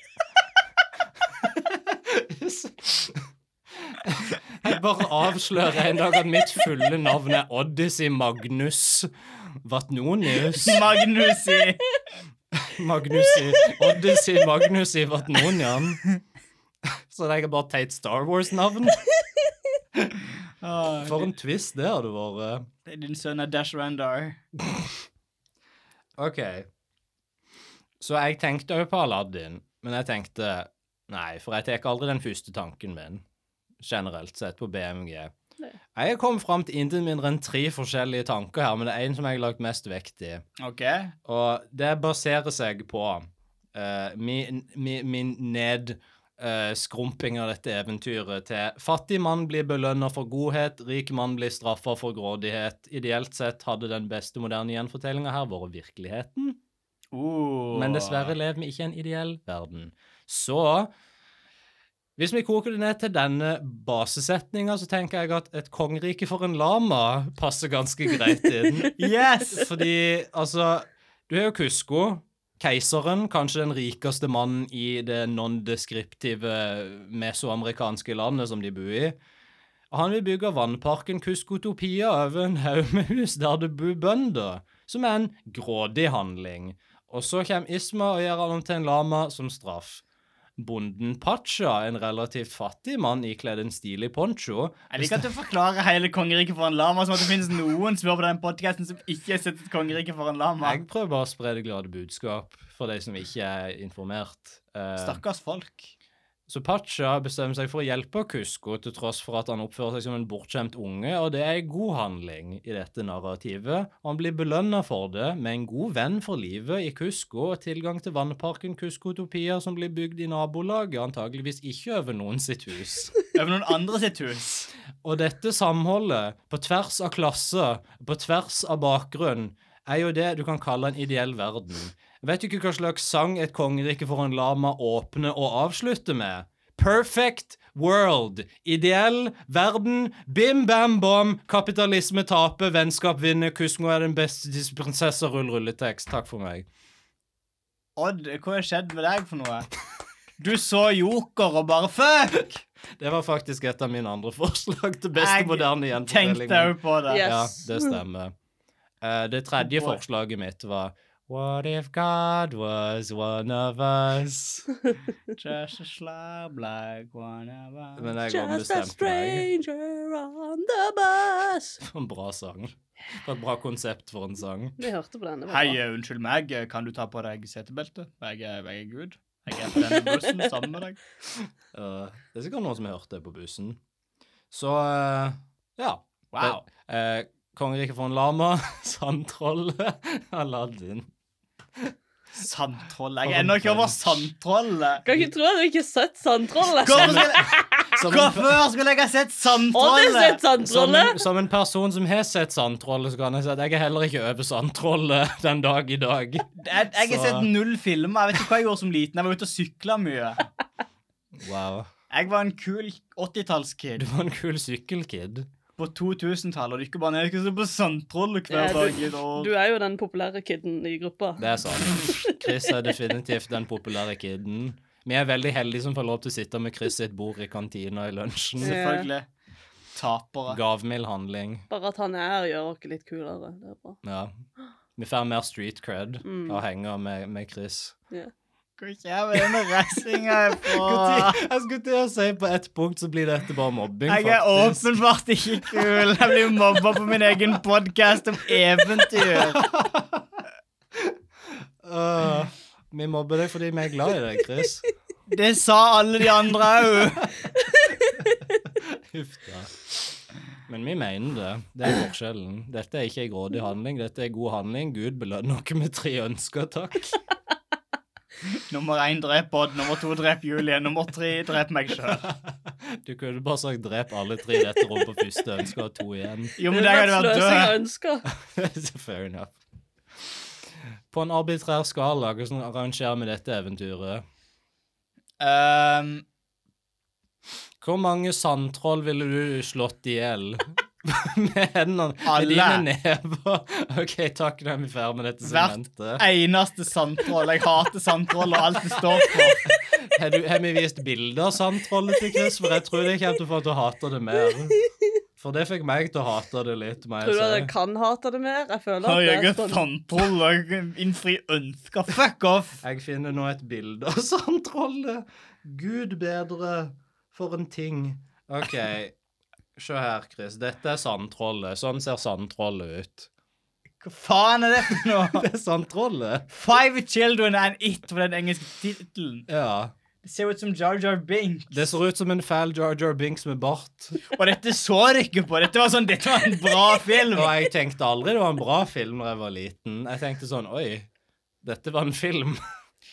Speaker 4: Jeg bare avslører en dag at mitt fulle navn er Odyssey Magnus Vatnonius.
Speaker 3: Magnusi.
Speaker 4: Magnusi Odyssey Magnusi Vatnonian. Så det er bare teit Star Wars-navn.
Speaker 3: Åh,
Speaker 4: For en twist det hadde vært. eh.
Speaker 3: din- Din sønn er Dash Randar.
Speaker 4: OK. Så jeg tenkte òg på Aladdin, men jeg tenkte Nei, for jeg tar aldri den første tanken min, generelt sett, på BMG.
Speaker 2: Nei.
Speaker 4: Jeg har kommet fram til intet mindre enn tre forskjellige tanker her, men det er én som jeg har lagt mest vekt i.
Speaker 3: OK?
Speaker 4: Og det baserer seg på eh, min, min, min nedskrumping av dette eventyret til fattig mann blir belønna for godhet, rik mann blir straffa for grådighet. Ideelt sett hadde den beste moderne gjenfortellinga her vært virkeligheten.
Speaker 3: Uh.
Speaker 4: Men dessverre lever vi ikke i en ideell verden. Så hvis vi koker det ned til denne basesetninga, så tenker jeg at et kongerike for en lama passer ganske greit inn.
Speaker 3: Yes!
Speaker 4: Fordi, altså Du har jo Kusko, keiseren, kanskje den rikeste mannen i det non-deskriptive mesoamerikanske landet som de bor i. Han vil bygge vannparken Kuskotopia over en haug med hus der det bor bønder, som er en grådig handling. Og så kommer Isma og gjør han om til en lama som straff. Bonden Pacha, en relativt fattig mann ikledd en stilig poncho,
Speaker 3: Jeg liker at du forklarer hele kongeriket for en lama som at det finnes noen som hører på den podcasten som ikke har sett et kongerike for en lama.
Speaker 4: Jeg prøver bare å spre det glade budskap for de som ikke er informert. Eh,
Speaker 3: Stakkars folk.
Speaker 4: så Pacha bestemmer seg for å hjelpe Kusko, til tross for at han oppfører seg som en bortskjemt unge, og det er en god handling i dette narrativet. Og han blir belønna for det med en god venn for livet i Kusko og tilgang til vannparken Kuskotopia, som blir bygd i nabolaget, antageligvis ikke over noen sitt hus.
Speaker 3: Over noen andre sitt hus.
Speaker 4: Og dette samholdet, på tvers av klasse, på tvers av bakgrunn, er jo det du kan kalle en ideell verden. Vet du ikke hva slags sang et kongerike for en lama åpner og avslutter med? Perfect world. Ideell verden. Bim bam bom. Kapitalisme taper, vennskap vinner, Kusmo er den beste prinsessa, rull rulletekst. Takk for meg.
Speaker 3: Odd, hva har skjedd med deg for noe? Du så Joker og bare fuck!
Speaker 4: Det var faktisk et av mine andre forslag til beste
Speaker 3: Jeg
Speaker 4: moderne
Speaker 3: Tenkte
Speaker 4: gjenfortelling.
Speaker 3: jeg jo på det.
Speaker 2: Yes.
Speaker 4: Ja, det stemmer. Eh, det tredje
Speaker 3: Boy.
Speaker 4: forslaget mitt var What if God was one of us?
Speaker 3: Just a slab like one of us.
Speaker 4: Men jeg har
Speaker 2: Just a
Speaker 4: bestemt meg.
Speaker 2: stranger on the bus.
Speaker 4: For en bra sang. For et bra konsept for en sang.
Speaker 2: Vi hørte på denne.
Speaker 3: Hei, eh, unnskyld meg, eh, kan du ta på deg setebeltet? Jeg er, jeg er Gud. Jeg er på denne bussen sammen med deg.
Speaker 4: Eh, det er sikkert noen som har hørt det på bussen. Så eh, ja.
Speaker 3: Wow.
Speaker 4: Uh, Kongeriket for en lama, sandtrollet, Aladdin.
Speaker 3: Sandtroll. Jeg er ennå ikke over sandtrollet.
Speaker 2: Kan ikke tro at du ikke har sett Sandtrollet.
Speaker 3: Hvorfor skulle,
Speaker 4: Som en-
Speaker 3: hvorfor skulle jeg ha
Speaker 2: Odd har
Speaker 3: sett
Speaker 2: sett
Speaker 3: sandtrollet?
Speaker 4: Som en,
Speaker 2: Sandtrollet.
Speaker 4: som en person som har sett Sandtrollet, så kan jeg si at jeg er heller ikke over Sandtrollet den dag i dag.
Speaker 3: Jeg, jeg har
Speaker 4: Så-
Speaker 3: sett null filmer. Jeg vet ikke hva jeg gjorde som liten. Jeg var ute og sykla mye.
Speaker 4: Wow.
Speaker 3: Jeg var en kul 80-tallskid.
Speaker 4: Du var en kul sykkelkid.
Speaker 3: på 2000-tallet, og du ikke bare ned ikke så på sandtrollet hver
Speaker 2: Ja, du-
Speaker 3: dag i et år.
Speaker 2: Du er jo den populære kiden i gruppa.
Speaker 4: Det er sant. Chris er definitivt den populære kiden. Vi er veldig heldige som får lov til å sitte med Chris sitt bord i kantina i lunsjen.
Speaker 3: Selvfølgelig. Tapere.
Speaker 4: Gavmild handling.
Speaker 2: Bare at han er her, gjør oss litt kulere. Det er bra.
Speaker 4: Ja. Vi får mer street cred
Speaker 2: Mm.
Speaker 4: av å henge med, med Chris.
Speaker 3: Hva skjer med denne reisinga jeg får?
Speaker 4: Ah. Jeg skulle til å si på ett punkt så blir dette bare mobbing,
Speaker 3: Jeg er åpenbart ikke kul. Jeg blir mobba på min egen podkast om eventyr.
Speaker 4: Øh, vi mobber deg fordi vi er glad i deg, Chris.
Speaker 3: Det sa alle de andre òg.
Speaker 4: Huff da. Men vi mener det. Det er forskjellen. Dette er ikke en grådig handling, dette er god handling. Gud belønner dere med tre ønsker, takk.
Speaker 3: Nummer én drep Odd, nummer to drep Julie, nummer tre drep meg sjøl.
Speaker 4: Du kunne bare sagt 'drep alle tre i dette rommet på første ønske og to igjen'.
Speaker 3: Jo,
Speaker 2: Det
Speaker 3: men
Speaker 2: er
Speaker 3: jeg
Speaker 2: den
Speaker 3: hadde vært
Speaker 2: løsningen jeg
Speaker 3: død.
Speaker 2: ønsker.
Speaker 4: Så Fair enough. På en arbitrær skala, hvordan arrangerer vi dette eventyret?
Speaker 3: Um,
Speaker 4: Hvor mange sandtroll ville du slått i hjel? med hendene
Speaker 3: Alle.
Speaker 4: Med dine never. OK, takk, nå er vi ferdig med dette
Speaker 3: Hvert
Speaker 4: segmentet.
Speaker 3: eneste sandtroll. Jeg hater sandtroll og alt det står for.
Speaker 4: Har, du, har vi vist bilder av sandtrollet til Chris? For jeg tror det kommer til å få deg til å hate det mer. For det fikk meg til å hate det litt. Må
Speaker 2: Tror du at
Speaker 4: jeg
Speaker 2: jeg
Speaker 4: si.
Speaker 2: kan hate det mer? Jeg føler
Speaker 3: Har
Speaker 2: at
Speaker 3: jeg
Speaker 2: det
Speaker 3: et
Speaker 2: er sånn
Speaker 3: sandtroll og innfri ønsker? Fuck off!
Speaker 4: Jeg finner nå et bilde av sandtrollet. Gud bedre, for en ting. OK, se her, Chris. Dette er sandtrollet. Sånn ser sandtrollet ut.
Speaker 3: Hva faen er det for noe?
Speaker 4: Det er sandtrollet.
Speaker 3: Five Children and It var den engelske tittelen.
Speaker 4: Ja.
Speaker 3: Det ser ut som Jar Jar Bink.
Speaker 4: Det ser ut som en fæl Jar Jar Binks med bart.
Speaker 3: Og dette så dere ikke på. Dette var sånn, dette var en bra film.
Speaker 4: Og jeg tenkte aldri det var en bra film da jeg var liten. Jeg tenkte sånn Oi, dette var en film.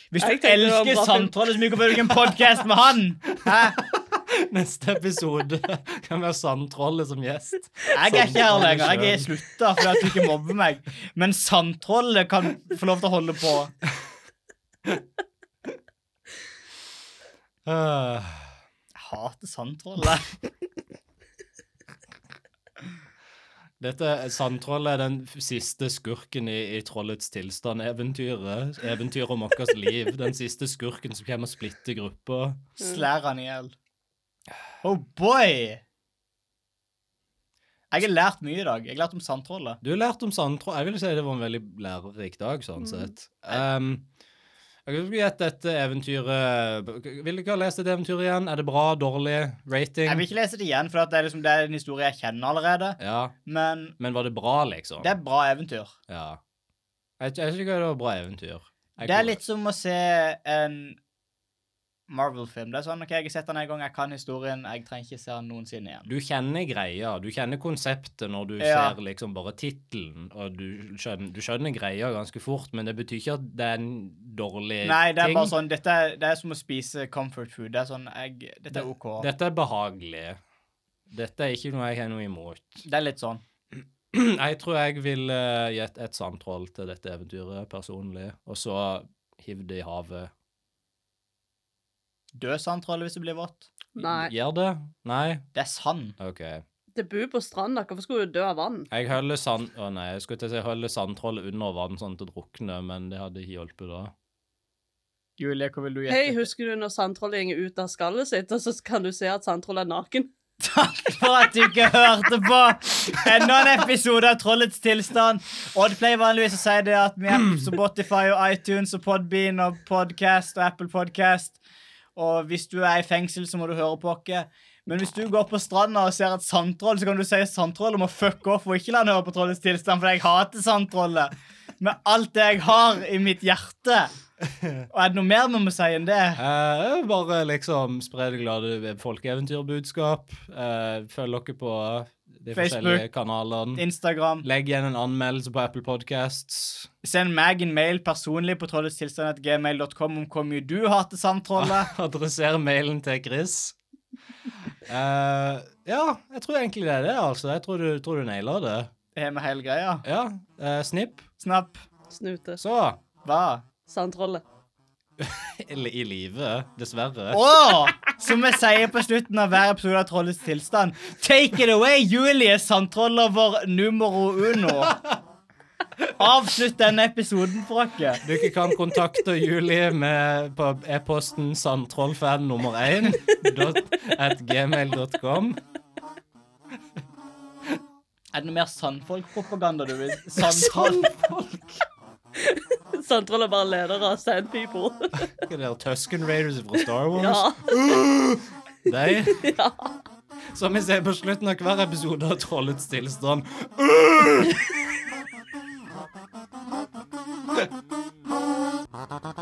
Speaker 3: Hvis
Speaker 2: Jeg
Speaker 3: du
Speaker 2: tenkte det var en
Speaker 3: elsker
Speaker 2: bra film.
Speaker 3: Sandtrollet så mye, hvorfor gjør du ikke en podkast med han? Hæ?
Speaker 4: Neste episode kan være Sandtrollet som gjest.
Speaker 3: Jeg er ikke her lenger. Jeg er slutta fordi at du ikke mobber meg. Men Sandtrollet kan få lov til å holde på.
Speaker 4: Øh,
Speaker 3: Jeg hater Sandtrollet.
Speaker 4: Dette Sandtrollet er den siste skurken i, i Trollets tilstand-eventyret. Eventyret om vårt liv. Den siste skurken som kommer og splitter gruppa.
Speaker 3: Slær han i hjel. Oh boy! Jeg har lært mye i dag. Jeg har lært om Sandtrollet.
Speaker 4: Du har lært om sandtroll. Jeg vil si det var en veldig lærerik dag,
Speaker 3: Mm.
Speaker 4: sånn sett. Um, jeg skulle gjette dette eventyret Vil dere ha lest dette eventyret igjen? Er det bra? Dårlig?
Speaker 3: Jeg
Speaker 4: Rating?
Speaker 3: vil ikke lese det igjen, for at det er, liksom, det er en historie jeg kjenner allerede.
Speaker 4: Ja.
Speaker 3: Men
Speaker 4: Men var det bra, liksom?
Speaker 3: det er bra eventyr.
Speaker 4: Ja. Jeg, jeg syns ikke det var bra eventyr. Jeg
Speaker 3: Det er
Speaker 4: kunne-
Speaker 3: litt som å se en Marvel-film. Det er sånn, ok, Jeg har sett den en gang, jeg kan historien, jeg trenger ikke se den noensinne igjen.
Speaker 4: Du kjenner greia, du kjenner konseptet når du
Speaker 3: Ja.
Speaker 4: ser liksom bare tittelen, og du skjønner, du skjønner greia ganske fort, men det betyr ikke at det er en dårlig
Speaker 3: Nei, det er
Speaker 4: Eh, ting.
Speaker 3: bare sånn, dette er, det er som å spise comfort food. Det er sånn, jeg, Dette er OK.
Speaker 4: Dette er behagelig. Dette er ikke noe jeg har noe imot.
Speaker 3: Det er litt sånn.
Speaker 4: Jeg tror jeg ville gitt et sandtroll til dette eventyret personlig, og så hiv det i havet.
Speaker 3: Død sandtroll hvis det blir vått.
Speaker 2: Nei.
Speaker 4: Gjør det? Nei?
Speaker 3: Det er sand.
Speaker 4: OK.
Speaker 2: Det bor på stranda. Hvorfor skulle du dø av vann?
Speaker 4: Jeg holder sand... Å nei, jeg skulle til å si jeg holder sandtrollet under vann sånn at det drukner, men det hadde ikke hjulpet da.
Speaker 3: Julie, hva vil du gjette?
Speaker 2: Hei, husker du når sandtrollet går ut av skallet sitt, og så kan du se at sandtrollet er naken?
Speaker 3: For at du ikke hørte på enda en episode av Trollets tilstand. Odd pleier vanligvis å si det at vi er på Spotify og iTunes og Podbean og Podcast og Apple Podcast. Og hvis du er i fengsel, så må du høre på oss. Men hvis du går på stranda og ser et sandtroll, så kan du si sandtrollet må fuck off og ikke la han høre på Trollets tilstand, for jeg hater sandtrollet. Med alt det jeg har i mitt hjerte. Og er det noe mer vi må si enn det?
Speaker 4: Eh, bare liksom spre det glade folkeeventyrbudskap. Eh, følg dere på
Speaker 3: Facebook.
Speaker 4: de forskjellige kanalene.
Speaker 3: Instagram.
Speaker 4: Legg igjen en anmeldelse på Apple Podcasts.
Speaker 3: Send meg en mail personlig på trolletstilstand.gmail.com om hvor mye du hater
Speaker 4: Ah.
Speaker 3: samtrollet.
Speaker 4: Adresser mailen til Chris. Eh, ja, jeg tror egentlig det er det, altså. Jeg tror du, tror du nailer det.
Speaker 3: Det er med hele greia.
Speaker 4: Ja. eh, snipp.
Speaker 3: Snapp.
Speaker 2: Snute.
Speaker 4: Så.
Speaker 3: Hva?
Speaker 2: Sandtrollet.
Speaker 4: I, i live, dessverre.
Speaker 3: Å! Som jeg sier på slutten av hver episode av Trollets tilstand. Take it away, Julie, sandtrollover numero uno. Avslutt denne episoden for dere.
Speaker 4: Dere kan kontakte Julie med, på e-posten sandtrollfan nummer 1 at gmail.com.
Speaker 3: Er det noe mer sandfolkpropaganda du vil? Sandtroll?
Speaker 2: Sandtroll er bare leder av Sand People.
Speaker 4: Hva er det der, Tusken Raiders fra Star Wars?
Speaker 2: ja.
Speaker 4: De,
Speaker 2: ja.
Speaker 4: som vi ser på slutten av hver episode av Trollets tilstand.
Speaker 1: Thank you.